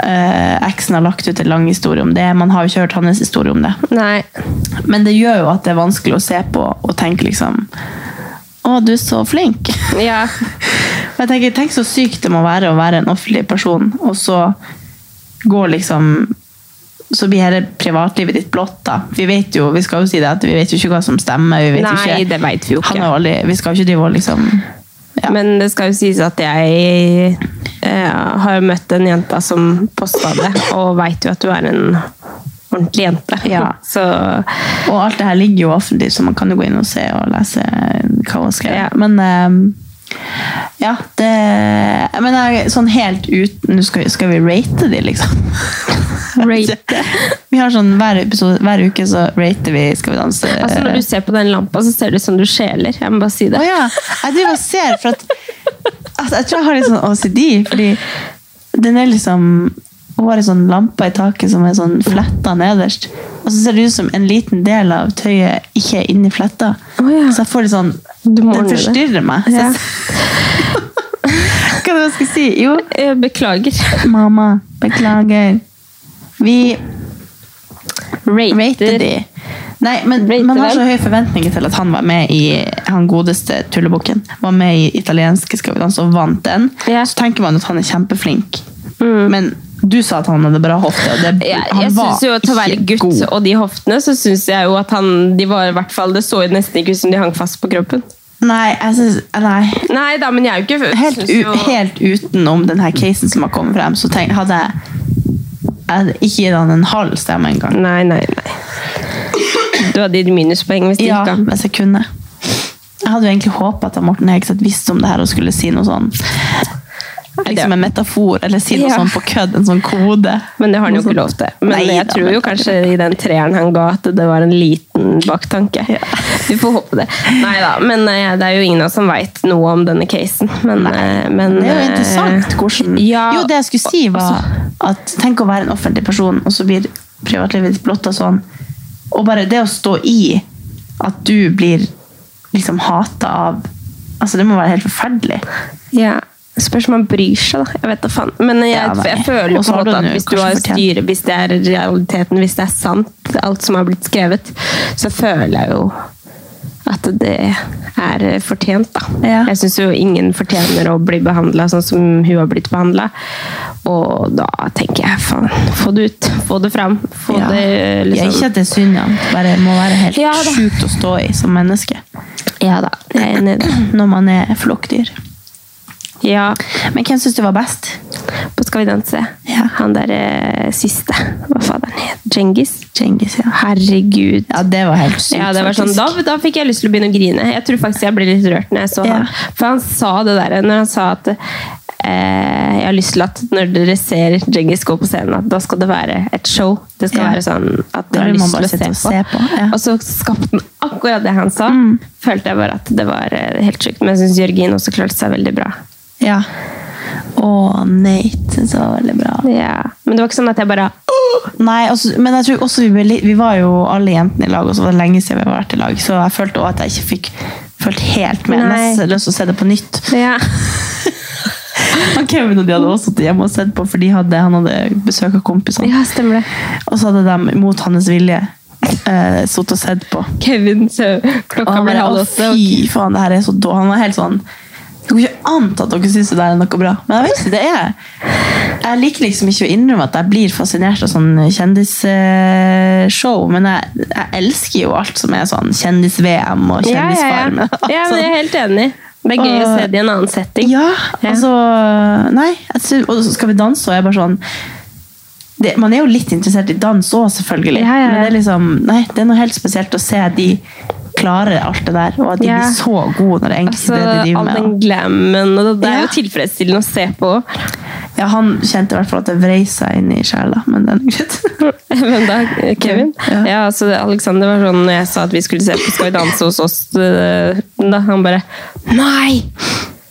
A: Eh, eksen har lagt ut en lang historie om det. Man har jo ikke hørt hans historie om det.
B: Nei.
A: Men det gjør jo at det er vanskelig å se på og tenke liksom Å, du er så flink.
B: Ja.
A: Og jeg tenker, Tenk så sykt det må være å være en offentlig person, og så går liksom så blir hele privatlivet ditt blotta. Vi vet jo vi skal jo si det at vi vet jo ikke hva som stemmer. Vi vet jo
B: Nei,
A: ikke,
B: det vet vi jo ikke.
A: Han har jo aldri, vi skal jo ikke drive og liksom ja.
B: Men det skal jo sies at jeg eh, har møtt en jenta som posta det, og veit jo at du er en ordentlig jente.
A: Ja.
B: Så eh,
A: Og alt det her ligger jo offentlig, så man kan jo gå inn og se og lese hva hun skrev.
B: Ja.
A: Men ehm, ja, det Men jeg, sånn helt uten Nå skal, skal vi rate de, liksom.
B: Rate?
A: vi har sånn hver, episode, hver uke så rater vi Skal vi danse.
B: altså, når du ser på den lampa, så ser det ut som du skjeler. Jeg må bare si
A: Å
B: det.
A: ja. Jeg driver og ser, for at altså, Jeg tror jeg har litt sånn OCD, fordi den er liksom Hun har en sånn lampe i taket som er sånn fletta nederst. Og så ser det ut som en liten del av tøyet ikke er inni fletta.
B: Å ja.
A: Så jeg får litt sånn
B: Du må
A: Den
B: ordne det.
A: forstyrrer meg.
B: Ja.
A: Så, hva var det jeg skulle si? Jo,
B: Eh, Beklager.
A: mamma, beklager. Vi
B: Rater.
A: rater de. Nei, men
B: Rater
A: Man har
B: dem.
A: så høye forventninger til at han var med i han godeste tullebukken. Var med i italienske Skal vi danse og vant den.
B: Ja.
A: Så tenker man at han er kjempeflink. Men du sa at han hadde bra hofte, og det,
B: Jeg,
A: han
B: jeg
A: var
B: synes jo til å være
A: ikke
B: gutt
A: god.
B: og de hoftene, så syns jeg jo at han de var i hvert fall, Det så jo nesten ikke ut som de hang fast på kroppen.
A: Nei, jeg synes, nei,
B: Nei da, men jeg er jo ikke
A: helt,
B: synes
A: u,
B: jo-
A: helt utenom denne casen som har kommet frem, så tenk, hadde jeg, jeg hadde ikke gitt han en halv stemme engang.
B: Nei, nei, nei. Du hadde gitt minuspoeng hvis du
A: Ja,
B: ikke hadde.
A: hvis jeg kunne. Jeg hadde jo egentlig håpet at Morten Hegseth visste om det her og skulle si noe sånn. liksom en metafor, eller si noe
B: Ja.
A: sånn på kødd, en sånn kode.
B: Men det har han jo ikke lov til. Men
A: Nei
B: jeg
A: da,
B: tror
A: men
B: jo kanskje i den treeren han ga, at det var en liten baktanke. Vi får håpe det. Nei da, men eh, det er jo ingen av oss som veit noe om denne casen. Men, eh, men
A: Det er jo interessant
B: eh,
A: hvordan
B: ja, altså-
A: Jo, det jeg skulle si, var at tenk å være en offentlig person, og så blir privatlivet ditt blotta sånn. Og bare det å stå i at du blir liksom hata av Altså, det må være helt forferdelig.
B: ja. Spørs om han bryr seg, da. Jeg vet da faen. Men jeg,
A: Ja, nei.
B: jeg føler jo
A: Og
B: på
A: så
B: en
A: har
B: måte
A: du
B: at
A: den jo
B: hvis du
A: kanskje
B: har
A: fortjent.
B: styre, hvis det er realiteten, hvis det er sant, alt som har blitt skrevet, så føler jeg jo at det er fortjent, da.
A: Ja.
B: Jeg syns jo ingen fortjener å bli behandla sånn som hun har blitt behandla. Og da tenker jeg faen, få det ut. Få det fram. Få
A: Ja.
B: det
A: ja, ikke
B: liksom
A: at det er synd, ja. bare må være helt
B: Ja da.
A: sjukt å stå i som menneske
B: Ja da, jeg er enig i det.
A: når man er flokkdyr.
B: Ja,
A: Men hvem syns du var best?
B: på Skal vi danse.
A: Ja.
B: Han derre siste, hva fader han het? Djengis?
A: Cengiz, ja.
B: Herregud.
A: Ja, det var helt sykt,
B: Ja, det var sånn,
A: faktisk.
B: da, da fikk jeg lyst til å begynne å grine. Jeg tror faktisk jeg ble litt rørt når jeg så
A: Ja.
B: han. For han sa det der når han sa at eh, jeg har lyst til at når dere ser Djengis gå på scenen, at da skal det være et show. Det skal
A: Ja.
B: være sånn at
A: Da
B: dere har
A: vil man
B: lyst
A: bare
B: til å se
A: sitte
B: på.
A: og se på, ja.
B: Og så skapte han akkurat det han sa.
A: Mm.
B: Følte jeg bare at det var eh, helt sjukt. Men jeg syns Jørgin også klarte seg veldig bra.
A: Ja. Og Nate syns jeg var veldig bra.
B: Ja. Men det var ikke sånn at jeg bare
A: Nei, altså, men jeg tror også vi, ble, litt- vi var jo alle jentene i lag, og så var det lenge siden vi har vært i lag, så jeg følte også at jeg ikke fikk følt helt med. Jeg
B: Nei.
A: hadde nesten lyst til å se det på nytt.
B: ja.
A: Han Kevin og de hadde også sittet hjemme og sett på, for de hadde, han hadde besøk av kompisene.
B: ja, stemmer det.
A: Og så hadde de, mot hans vilje, eh, sittet og sett på.
B: Kevin, så
A: Og
B: klokka
A: han
B: ble
A: bare,
B: halv
A: å
B: åtte.
A: fy faen, det her er så dårlig. Han var helt sånn, jeg kan ikke anta at dere synes det der er noe bra. Men jeg vet ikke, det er jeg. Jeg liker liksom ikke å innrømme at jeg blir fascinert av sånn kjendisshow, men jeg, jeg elsker jo alt som er sånn kjendis-VM og
B: Ja, ja, ja.
A: kjendisfarmen.
B: ja, men jeg er helt enig. Det er gøy å
A: Og-
B: se det i en annen setting.
A: Ja,
B: Ja.
A: altså Nei, jeg synes, og så skal vi danse, og jeg er bare sånn det, Man er jo litt interessert i dans òg, selvfølgelig,
B: Ja, ja, ja.
A: men det er liksom Nei, det er noe helt spesielt å se de klarer alt det der, og at de
B: Ja.
A: blir så gode når det er egentlig
B: Altså,
A: det de
B: all
A: driver
B: den
A: med.
B: glammen, og det, det er
A: Ja.
B: jo tilfredsstillende å se på.
A: Og, ja, han kjente i hvert fall at det vrei seg inn i sjela, men den er greit.
B: Hvem da? Kevin?
A: Ja.
B: Ja, altså, det- Alexander var sånn når jeg sa at vi skulle se på Skal vi danse hos oss, øh, da han bare Nei!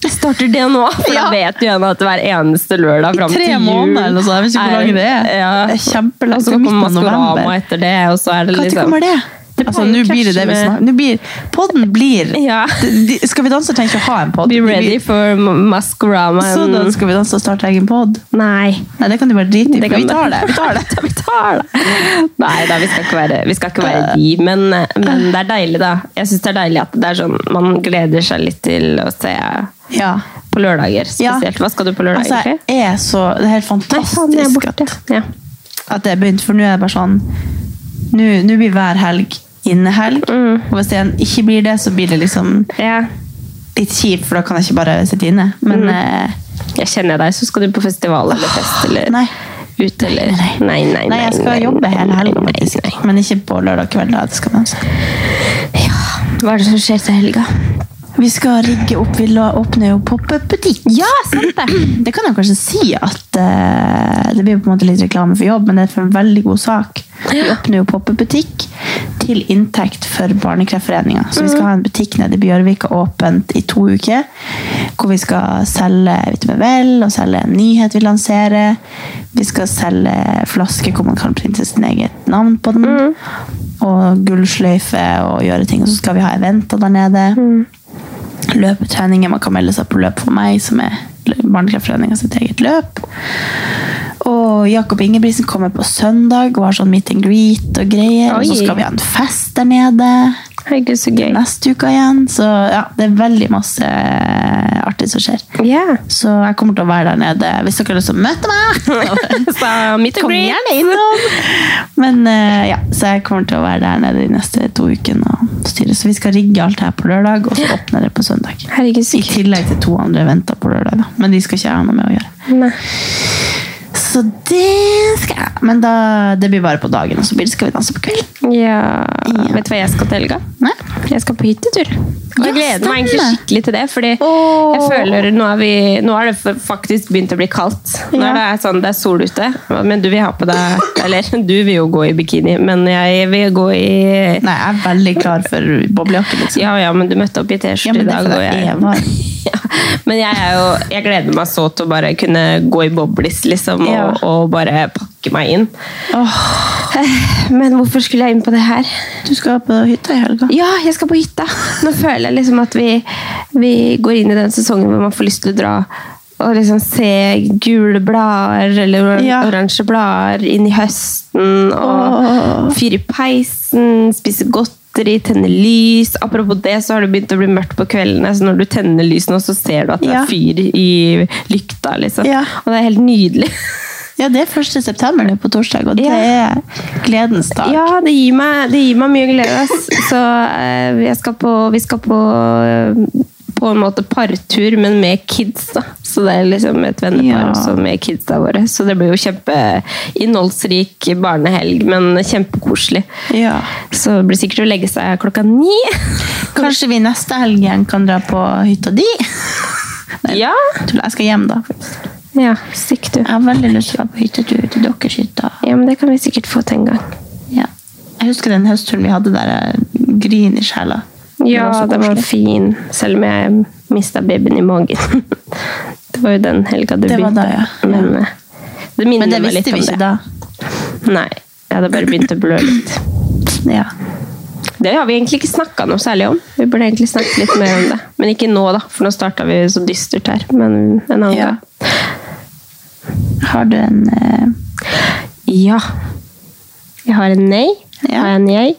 B: Jeg starter det nå! For
A: Ja.
B: da vet jo han at hver eneste lørdag fram til
A: Tre
B: jul
A: måneder eller noe sånt, jeg vet ikke hvor
B: er-
A: lang det er.
B: Ja.
A: Det er kjempelangt,
B: Og så
A: det er midten
B: kommer
A: av november.
B: Maskorama etter det, og så er det
A: Når
B: liksom
A: kommer det?
B: Det
A: Altså,
B: må jo
A: nå blir det det vi
B: krasje med-
A: snakker nå blir, Podden blir
B: Ja.
A: de, de, Skal vi danse trenger ikke å ha en pod.
B: Be ready for Maskorama.
A: Så da skal vi danse og starte egen pod?
B: Nei.
A: Nei, det kan du bare drite i,
B: Mm. Det
A: for vi
B: kan du.
A: tar det. Vi tar det.
B: Vi tar det. Nei da, vi skal ikke være, vi skal ikke være de, men, men det er deilig, da. Jeg syns det er deilig at det er sånn man gleder seg litt til å se
A: Ja.
B: på lørdager spesielt. Hva skal du på lørdag,
A: Altså,
B: egentlig?
A: jeg er så, det er helt
B: Nei, faen, jeg er
A: fantastisk
B: borte. Ja.
A: at, at det er begynt, for nå er det bare sånn Nå nå blir hver helg innehelg,
B: Mm.
A: og hvis det igjen ikke blir det, så blir det liksom
B: Ja.
A: litt kjipt, for da kan jeg ikke bare sitte inne. Men
B: Mm.
A: eh,
B: Jeg kjenner deg, så skal du på festival eller fest eller
A: nei.
B: ut eller Nei, nei, nei.
A: nei, jeg skal
B: nei,
A: jobbe hele
B: nei,
A: helgen,
B: nei,
A: faktisk.
B: nei.
A: Men ikke på lørdag kveld, da jeg skal danse.
B: Hva er det som skjer til helga?
A: Vi skal rigge opp, vi la- åpner jo pop-up-butikk.
B: Ja, sant det!
A: Det kan jeg kanskje si at eh, det blir på en måte litt reklame for jobb, men det er for en veldig god sak. Vi åpner jo pop-up-butikk til inntekt for Barnekreftforeninga. Så vi skal ha en butikk nede i Bjørvika åpent i to uker. Hvor vi skal selge Vitamin Vel og selge en nyhet vi lanserer. Vi skal selge flasker hvor man kan printe sin eget navn på den. Og gullsløyfe og gjøre ting. Og så skal vi ha eventer der nede løpetreninger. Man kan melde seg på løp for meg, som er Barnekreftforeninga sitt eget løp. Og Jakob Ingebrigtsen kommer på søndag og har sånn meet and greet og greier. Og så
B: Oi.
A: skal vi ha en fest der nede
B: Herregud, så gøy.
A: neste uke igjen. Så ja, det er veldig masse eh, artig som skjer.
B: Ja.
A: Så jeg kommer til å være der nede hvis dere har lyst til å møte meg.
B: Så meet and
A: Kom
B: greet.
A: gjerne innom! Men eh, ja, så jeg kommer til å være der nede de neste to ukene og styre. Så vi skal rigge alt her på lørdag, og så åpner det på søndag.
B: Herregud, så
A: I
B: gøy.
A: tillegg til to andre venter på lørdag, da. men de skal ikke jeg ha noe med å gjøre.
B: Nei.
A: Så det skal jeg. Men da, det blir bare på dagen, og så blir det skal vi danse på kvelden.
B: Ja. Vet du hva jeg skal til helga?
A: Nei?
B: Jeg skal på hyttetur. Og jeg
A: Ja,
B: gleder meg egentlig
A: stemmer.
B: skikkelig til det, fordi
A: Åh.
B: jeg føler nå er, vi, nå er det faktisk begynt å bli kaldt. Nå er det, sånn, det er sol ute, men du vil ha på deg Eller du vil jo gå i bikini, men jeg vil gå i
A: Nei, jeg er veldig klar for boblejakke, liksom.
B: Ja ja, men du møtte opp i
A: Ja, men
B: T-skjorte i
A: det er
B: dag, og
A: fordi jeg er
B: jeg
A: varm.
B: ja. Men jeg, er jo, jeg gleder meg så til å bare kunne gå i boblis, liksom, og,
A: Ja.
B: og bare pakke meg inn.
A: Åh,
B: Men hvorfor skulle jeg inn på det her?
A: du skal på hytta i helga.
B: Ja, jeg skal på hytta! Nå føler jeg liksom at vi, vi går inn i den sesongen hvor man får lyst til å dra og liksom se gule blader eller or
A: Ja.
B: oransje blader inn i høsten. Og
A: Åh.
B: fyre i peisen, spise godteri, tenne lys. Apropos det, så har det begynt å bli mørkt på kveldene, så når du tenner lys nå, så ser du at det
A: Ja.
B: er fyr i lykta. liksom.
A: Ja.
B: Og det er helt nydelig.
A: Ja, det er 1. september nå på torsdag, og det
B: Ja.
A: er gledens dag.
B: Ja, det gir meg, det gir meg mye glede. ass. Så eh, jeg skal på, vi skal på eh, på en måte partur, men med kids. da. Så det er liksom et vennepar
A: Ja.
B: også med kidsa våre. Så det blir jo kjempeinnholdsrik barnehelg, men kjempekoselig.
A: Ja.
B: Så det blir sikkert å legge seg klokka ni.
A: Kanskje vi neste helg igjen kan dra på hytta di?
B: Ja.
A: Tuller, Jeg skal hjem, da. faktisk.
B: ja Stikk, du.
A: Jeg har veldig lyst til å dra på hyttetur til deres hytta.
B: Ja, men det kan vi sikkert få til en gang.
A: Ja. Jeg husker den høstturen vi hadde der jeg grin i sjela.
B: Ja, den var fin, selv om jeg mista babyen i magen. Det var jo den helga du
A: Det var
B: begynte.
A: da, ja. Ja.
B: Men eh, det minner
A: Men det
B: meg litt
A: visste
B: om
A: vi
B: det.
A: ikke da.
B: Nei, jeg hadde bare begynt å blø litt.
A: Ja.
B: Det har vi egentlig ikke snakka noe særlig om. Vi burde egentlig snakke litt mer om det. Men ikke nå, da, for nå starta vi så dystert her. Men en annen
A: Ja.
B: gang.
A: Har du en eh,
B: Ja. Jeg har en nei.
A: Ja.
B: Har jeg en jeg?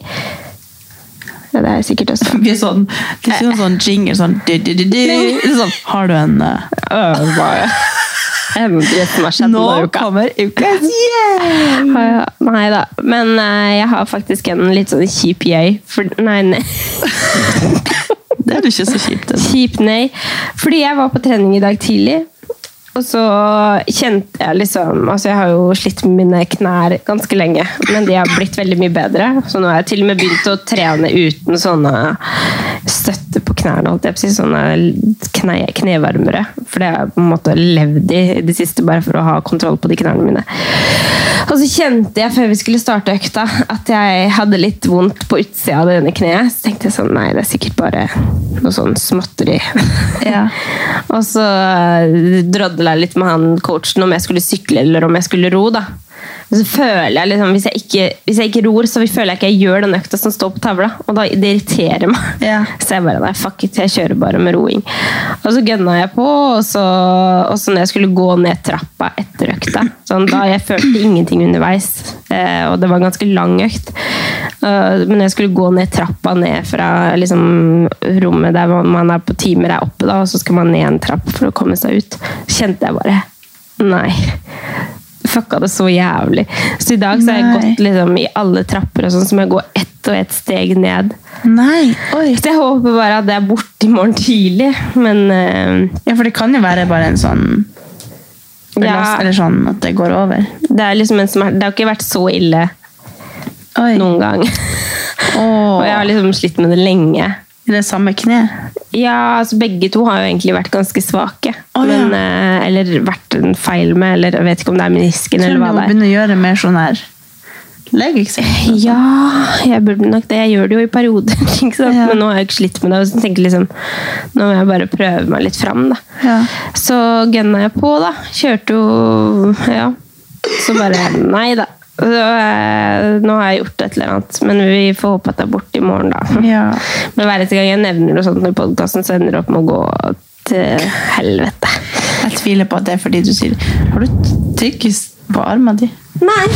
B: Ja, det er jeg sikkert også.
A: vi er sånn, Det er sånn, sånn jingle sånn, du, du, du, du. sånn Har du en eh,
B: Øh, hva- Jeg vet ikke hva som har skjedd
A: Nå
B: denne uka.
A: kommer ukas yeah!
B: Har jeg- Nei da. Men eh, jeg har faktisk en litt sånn kjip jeg. For, nei, nei.
A: Det er jo ikke så kjipt. det.
B: Kjipt nei. Fordi jeg var på trening i dag tidlig. Og så kjente jeg liksom Altså, jeg har jo slitt med mine knær ganske lenge, men de har blitt veldig mye bedre. Så nå har jeg til og med begynt å trene uten sånne støtte på knærne, holdt jeg på å si. Sånne kne, knevarmere. For det har jeg på en måte levd i i det siste, bare for å ha kontroll på de knærne mine. Og så kjente jeg før vi skulle starte økta, at jeg hadde litt vondt på utsida av det ene kneet. Så tenkte jeg sånn Nei, det er sikkert bare noe sånn småtteri.
A: Ja.
B: Og så eh, drodla jeg litt med han coachen om jeg skulle sykle eller om jeg skulle ro. da. Og så føler jeg liksom, hvis jeg, ikke, hvis jeg ikke ror, så føler jeg ikke jeg gjør den økta som står på tavla. Og da, det irriterer meg.
A: Ja.
B: Så jeg bare nei, fuck it, jeg kjører bare med roing. Og så gønna jeg på, og så, og så når jeg skulle gå ned trappa etter økta sånn, da Jeg følte ingenting underveis, eh, og det var en ganske lang økt. Eh, men når jeg skulle gå ned trappa ned fra liksom, rommet der man- man er på timer er oppe, da, og så skal man ned en trapp for å komme seg ut, kjente jeg bare Nei. Fucka det så jævlig. Så i dag så har jeg
A: Nei.
B: gått liksom, i alle trapper og sånn, så må jeg gå ett og ett steg ned.
A: Nei, oi.
B: Så jeg håper bare at det er borte i morgen tidlig, men eh,
A: Ja, for det kan jo være bare en sånn belast-
B: ja,
A: Eller sånn at det går over.
B: det er liksom en smerte. Det har ikke vært så ille
A: Oi.
B: noen gang.
A: Åh.
B: Og jeg har liksom slitt med det lenge.
A: I det samme kne.
B: Ja, altså begge to har jo egentlig vært ganske svake.
A: Å, ja.
B: men, eh, eller vært en feil med, eller jeg vet ikke om det er menisken
A: Tror du
B: eller
A: vi
B: hva
A: må
B: det er.
A: begynne å gjøre mer sånn her legeeksamen?
B: Ja, jeg burde nok det. Jeg gjør det jo i perioder, ikke sant?
A: Ja.
B: men nå har jeg ikke slitt med det. Og så tenker jeg liksom, nå må jeg bare prøve meg litt fram. da.
A: Ja.
B: Så gønna jeg på, da. Kjørte jo Ja. Så bare Nei da. Så, eh, Nå har jeg gjort et eller annet, men vi får håpe at det er borte i morgen, da.
A: Ja.
B: Men hver eneste gang jeg nevner noe sånt i podkasten, så ender det opp med å gå til helvete.
A: Jeg tviler på at det er fordi du sier Har du trykkis på armen din?
B: Nei!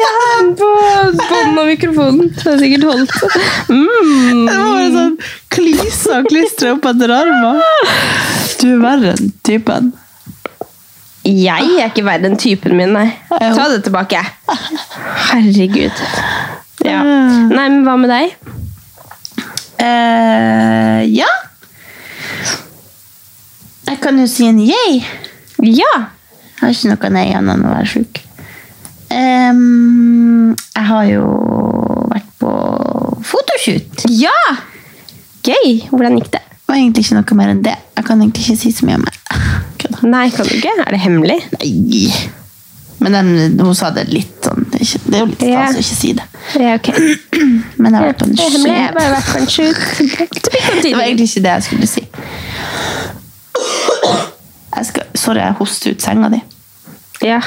B: Jeg har den på bånn av mikrofonen. Det har sikkert holdt. Mm.
A: Det var bare sånn klisa og klistra opp etter armen. Du er verre enn typen.
B: Jeg er ikke verre enn typen min, nei.
A: Jo.
B: Ta det tilbake. Herregud. Ja.
A: Mm.
B: Nei, men hva med deg?
A: Eh, ja. Jeg kan jo si en yay.
B: Ja!
A: Jeg har ikke noe nei annet enn å være sjuk. Em, jeg har jo vært på photoshoot.
B: Ja! Gøy! Hvordan gikk det?
A: Og egentlig ikke noe mer enn det. Jeg kan egentlig ikke si så mye om det. Kødda.
B: Nei, kan du ikke? Er det hemmelig?
A: Nei. Men den, hun sa det litt sånn Det er, ikke, det er jo litt
B: Ja.
A: stas å ikke si det.
B: Ja, ok.
A: Men jeg har
B: Det
A: vært på en
B: er hemmelig. Jeg har
A: shoot.
B: bare vært på en shoot. To be
A: Det var
B: continued.
A: egentlig ikke det jeg skulle si. Jeg skal, sorry, jeg hoster ut senga di.
B: Ja.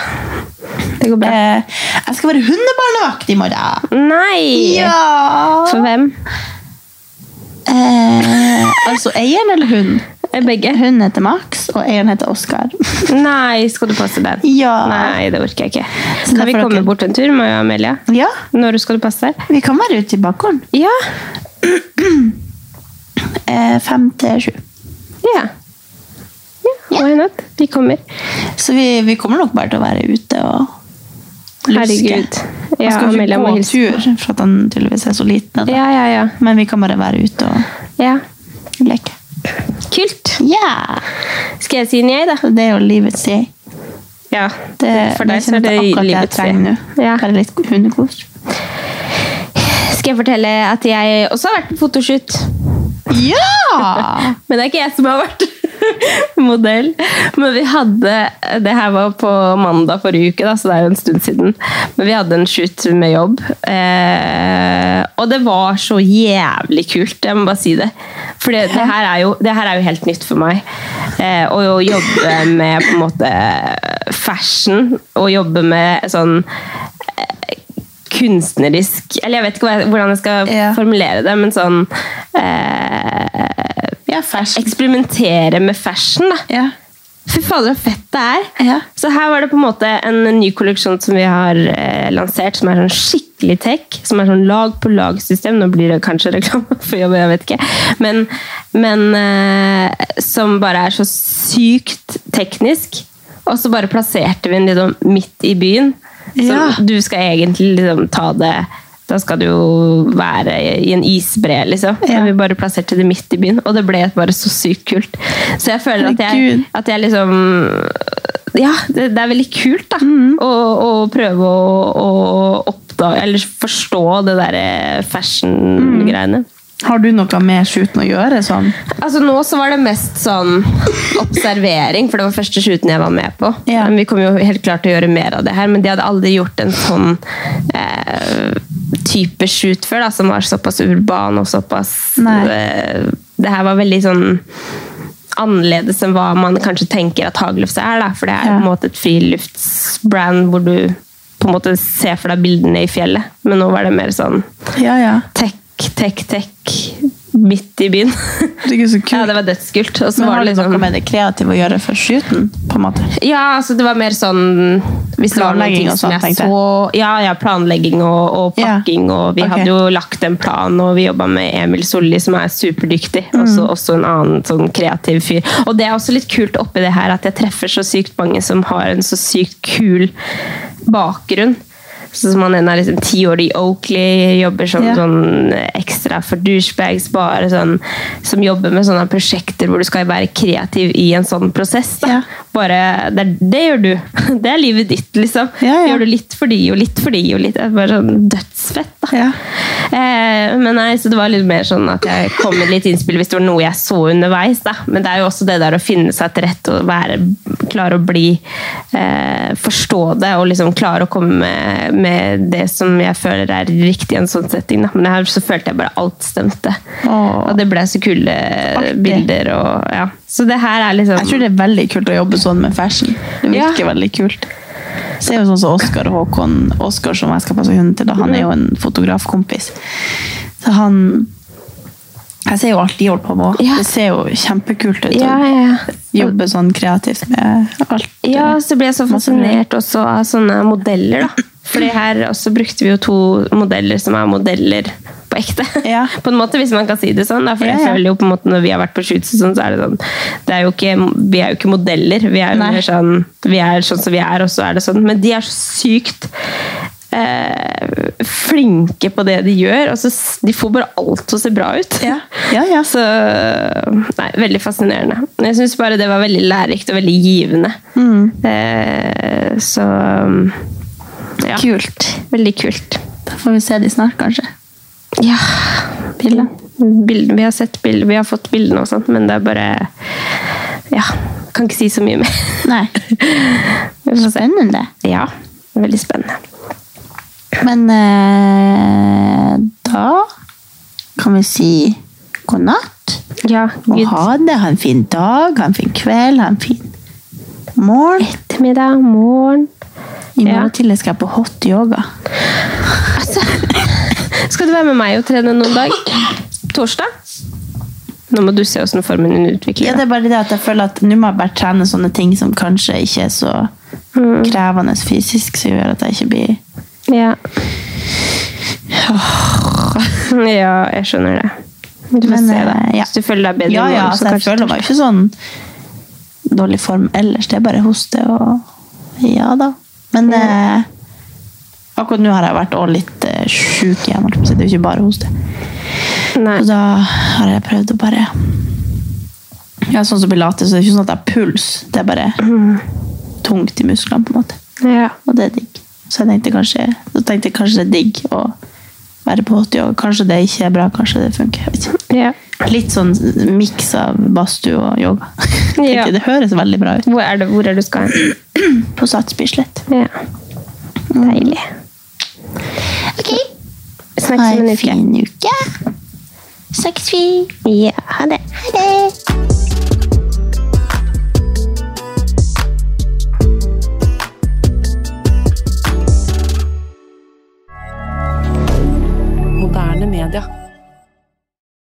B: Det går bra.
A: Eh, jeg skal være hundebarnevakt i morgen.
B: Nei! For
A: Ja!
B: hvem?
A: Eh, altså eieren eller hun?
B: Begge.
A: Hun heter Max, og eieren heter Oskar.
B: Nei, skal du passe den?
A: Ja.
B: Nei, det orker jeg ikke.
A: Så
B: Kan vi
A: derfor
B: komme
A: dere-
B: bort en tur, Maja og Amelia?
A: Ja,
B: Når skal du passe?
A: vi kan være ute i bakgården.
B: Ja.
A: Eh, fem til sju.
B: Ja. Ja, Why not? Vi kommer.
A: Så vi, vi kommer nok bare til å være ute og luske.
B: Herregud.
A: Man
B: Ja,
A: skal jo
B: Amelia
A: ikke
B: må
A: gå
B: hilse.
A: tur, for at han tydeligvis er så liten. ennå.
B: Ja, ja, ja.
A: Men vi kan bare være ute og
B: ja.
A: leke.
B: Kult.
A: Ja!
B: Skal jeg si en jeg, da?
A: Så Det er jo livets jeg.
B: Ja.
A: Det,
B: For deg så er det
A: akkurat det jeg
B: livets
A: trenger nå.
B: vei. Ja.
A: Bare litt hundekos.
B: Skal jeg fortelle at jeg også har vært på fotoshoot?
A: Ja!
B: Men det er ikke jeg som har vært modell. Men vi hadde Det her var på mandag forrige uke, da, så det er jo en stund siden. Men vi hadde en shoot med jobb. Eh, og det var så jævlig kult, jeg må bare si det. For det, det, her, er jo, det her er jo helt nytt for meg. Eh, å å jobbe med på en måte fashion, og jobbe med sånn eh, kunstnerisk Eller jeg vet ikke hva jeg- hvordan jeg skal
A: Ja.
B: formulere det, men sånn eh,
A: Ja, fersk.
B: eksperimentere med fashion. da.
A: Ja.
B: Fy fader, så fett det er!
A: Ja.
B: Så her var det på en måte en ny kolleksjon som vi har eh, lansert, som er sånn skikkelig tech. Som er sånn lag på lag-system. Nå blir det kanskje reklame for jobb, jeg vet ikke. Men, men eh, som bare er så sykt teknisk. Og så bare plasserte vi den liksom midt i byen. Så
A: Ja.
B: du skal egentlig liksom ta det Da skal du jo være i en isbre, liksom.
A: Ja.
B: Men vi bare plasserte det midt i byen, og det ble bare så sykt kult. Så jeg føler at jeg,
A: Herregud.
B: at jeg liksom Ja, det, det er veldig kult, da. Å, å prøve å, å oppdage Eller forstå det derre fashion-greiene.
A: Har du noe med shooten å gjøre? sånn?
B: Altså Nå så var det mest sånn observering, for det var første shooten jeg var med på.
A: Ja.
B: Men vi kommer jo helt klart til å gjøre mer av det her, men de hadde aldri gjort en sånn eh, type shoot før, da, som var såpass urban og såpass
A: Nei.
B: eh, Det her var veldig sånn annerledes enn hva man kanskje tenker at Hagelufs er, da, for det er
A: Ja.
B: på en måte et friluftsbrand hvor du på en måte ser for deg bildene i fjellet, men nå var det mer sånn
A: Ja, ja.
B: tech, tech, tech midt i byen.
A: Herregud, så kult.
B: Ja, det var dødskult. Og så
A: Men
B: var
A: har
B: det
A: det
B: liksom
A: noe med det kreative å gjøre for shooten? på en måte?
B: ja, altså det var mer sånn hvis det var noen
A: Planlegging
B: ting
A: og
B: som
A: sånn,
B: jeg
A: tenkte jeg.
B: så, ja, ja, planlegging og, og
A: Ja.
B: pakking. Og vi
A: Ok.
B: hadde jo lagt en plan, og vi jobba med Emil Solli, som er superdyktig. og
A: Mm.
B: Også, også en annen sånn kreativ fyr. Og det er også litt kult oppi det her at jeg treffer så sykt mange som har en så sykt kul bakgrunn. Så som han ene er liksom ti år i Oakley, jobber som
A: Ja.
B: sånn ekstra for douchebags, bare sånn, som jobber med sånne prosjekter hvor du skal være kreativ i en sånn prosess. da
A: Ja.
B: bare, det, er- det gjør du. Det er livet ditt, liksom.
A: Ja, ja.
B: Gjør du litt for de og litt for de og litt. Det er bare sånn dødsfett, da.
A: Ja.
B: Eh, men nei, så det var litt mer sånn at jeg kom med litt innspill hvis det var noe jeg så underveis, da. Men det er jo også det der å finne seg til rette og være, klare å bli eh, Forstå det og liksom klare å komme med, med det som jeg føler er riktig i en sånn setting, da. Men her så følte jeg bare alt stemte.
A: Åh.
B: Og det ble så kule
A: Artig.
B: bilder og ja. Så det her er liksom
A: Jeg tror det er veldig kult å jobbe sånn med fashion. Det
B: Ja.
A: virker veldig kult. Så det er jo sånn som Oskar og Håkon Oskar som jeg skal passe hunden til, da, han er jo en fotografkompis. Så han Jeg ser jo alt de holder på med. også.
B: Ja.
A: Det ser jo kjempekult ut. å
B: Ja, ja, ja.
A: Jobbe sånn kreativt med alt.
B: Ja, så ble jeg så fascinert også av sånne modeller, da. Fordi her også brukte vi jo to modeller som er modeller på ekte.
A: Ja.
B: På en måte, hvis man kan si det sånn. Da. For
A: Ja,
B: jeg
A: ja.
B: føler jo på en måte når vi har vært på shoots og sånn, så er det sånn det er jo ikke, Vi er jo ikke modeller. Vi er jo
A: Nei.
B: mer sånn vi er sånn som vi er, og så er det sånn. Men de er så sykt eh, flinke på det de gjør. Og så s- de får bare alt til å se bra ut.
A: Ja. Ja, ja.
B: Så Nei, veldig fascinerende. Men Jeg syns bare det var veldig lærerikt og veldig givende. Eh, så um, ja.
A: Kult.
B: Veldig kult.
A: Da får vi se de snart, kanskje.
B: Ja, bildet. Bilder- Vi har sett bilder, vi har fått bildene og sånt, men det er bare Ja, kan ikke si så mye mer.
C: Nei.
B: Vi får se.
C: Spennende.
B: Ja, veldig spennende.
C: Men eh, da kan vi si god natt.
B: Ja,
C: Og
B: Gud.
C: ha det. Ha en fin dag, ha en fin kveld, ha en fin morgen.
B: Ettermiddag, morgen
C: I
B: Ja.
C: morgen tidlig skal jeg på hot yoga.
B: Skal du være med meg og trene noen dag? Torsdag? Nå må du se hvordan formen din
A: Ja,
B: utvikler
A: det er bare det at jeg føler at nå må jeg bare trene sånne ting som kanskje ikke er så krevende fysisk, som gjør at jeg ikke blir
B: seg. Mm, Ja. ja, jeg skjønner det. Du får
A: Men,
B: se, da.
A: eh, ja.
B: Hvis du føler deg bedre
A: Ja,
B: i
A: ja,
B: morgen,
A: altså,
B: så
A: jeg
B: kanskje
A: føler meg ikke sånn dårlig form ellers. Det er bare hoste og Ja da. Men eh, akkurat nå har jeg vært også litt eh, sjuk igjen. holdt jeg på å si. Det er jo ikke bare hoste.
B: Nei.
A: Og da har jeg prøvd å bare Ja, sånn som pilates, så det er ikke sånn at jeg har puls. Det er bare tungt i musklene, på en måte.
B: Mm, Ja.
A: Og det er digg. Så jeg tenkte kanskje, så tenkte jeg kanskje det er digg å være på hot yoga. Kanskje det ikke er bra, kanskje det funker. Jeg vet ikke.
B: ja.
A: Litt sånn miks av badstue og yoga.
B: Ja.
A: Tenkte, det høres veldig bra ut.
B: Hvor er det, hvor er det du skal hen?
A: På Sats Bislett.
B: Ja.
A: Mm.
B: Deilig.
C: Ok,
B: Snakkes
C: ha
B: om
C: en
B: en uke.
C: fin uke. Snakkes vi.
B: Ja, ha det.
C: Ha det.
D: Moderne media.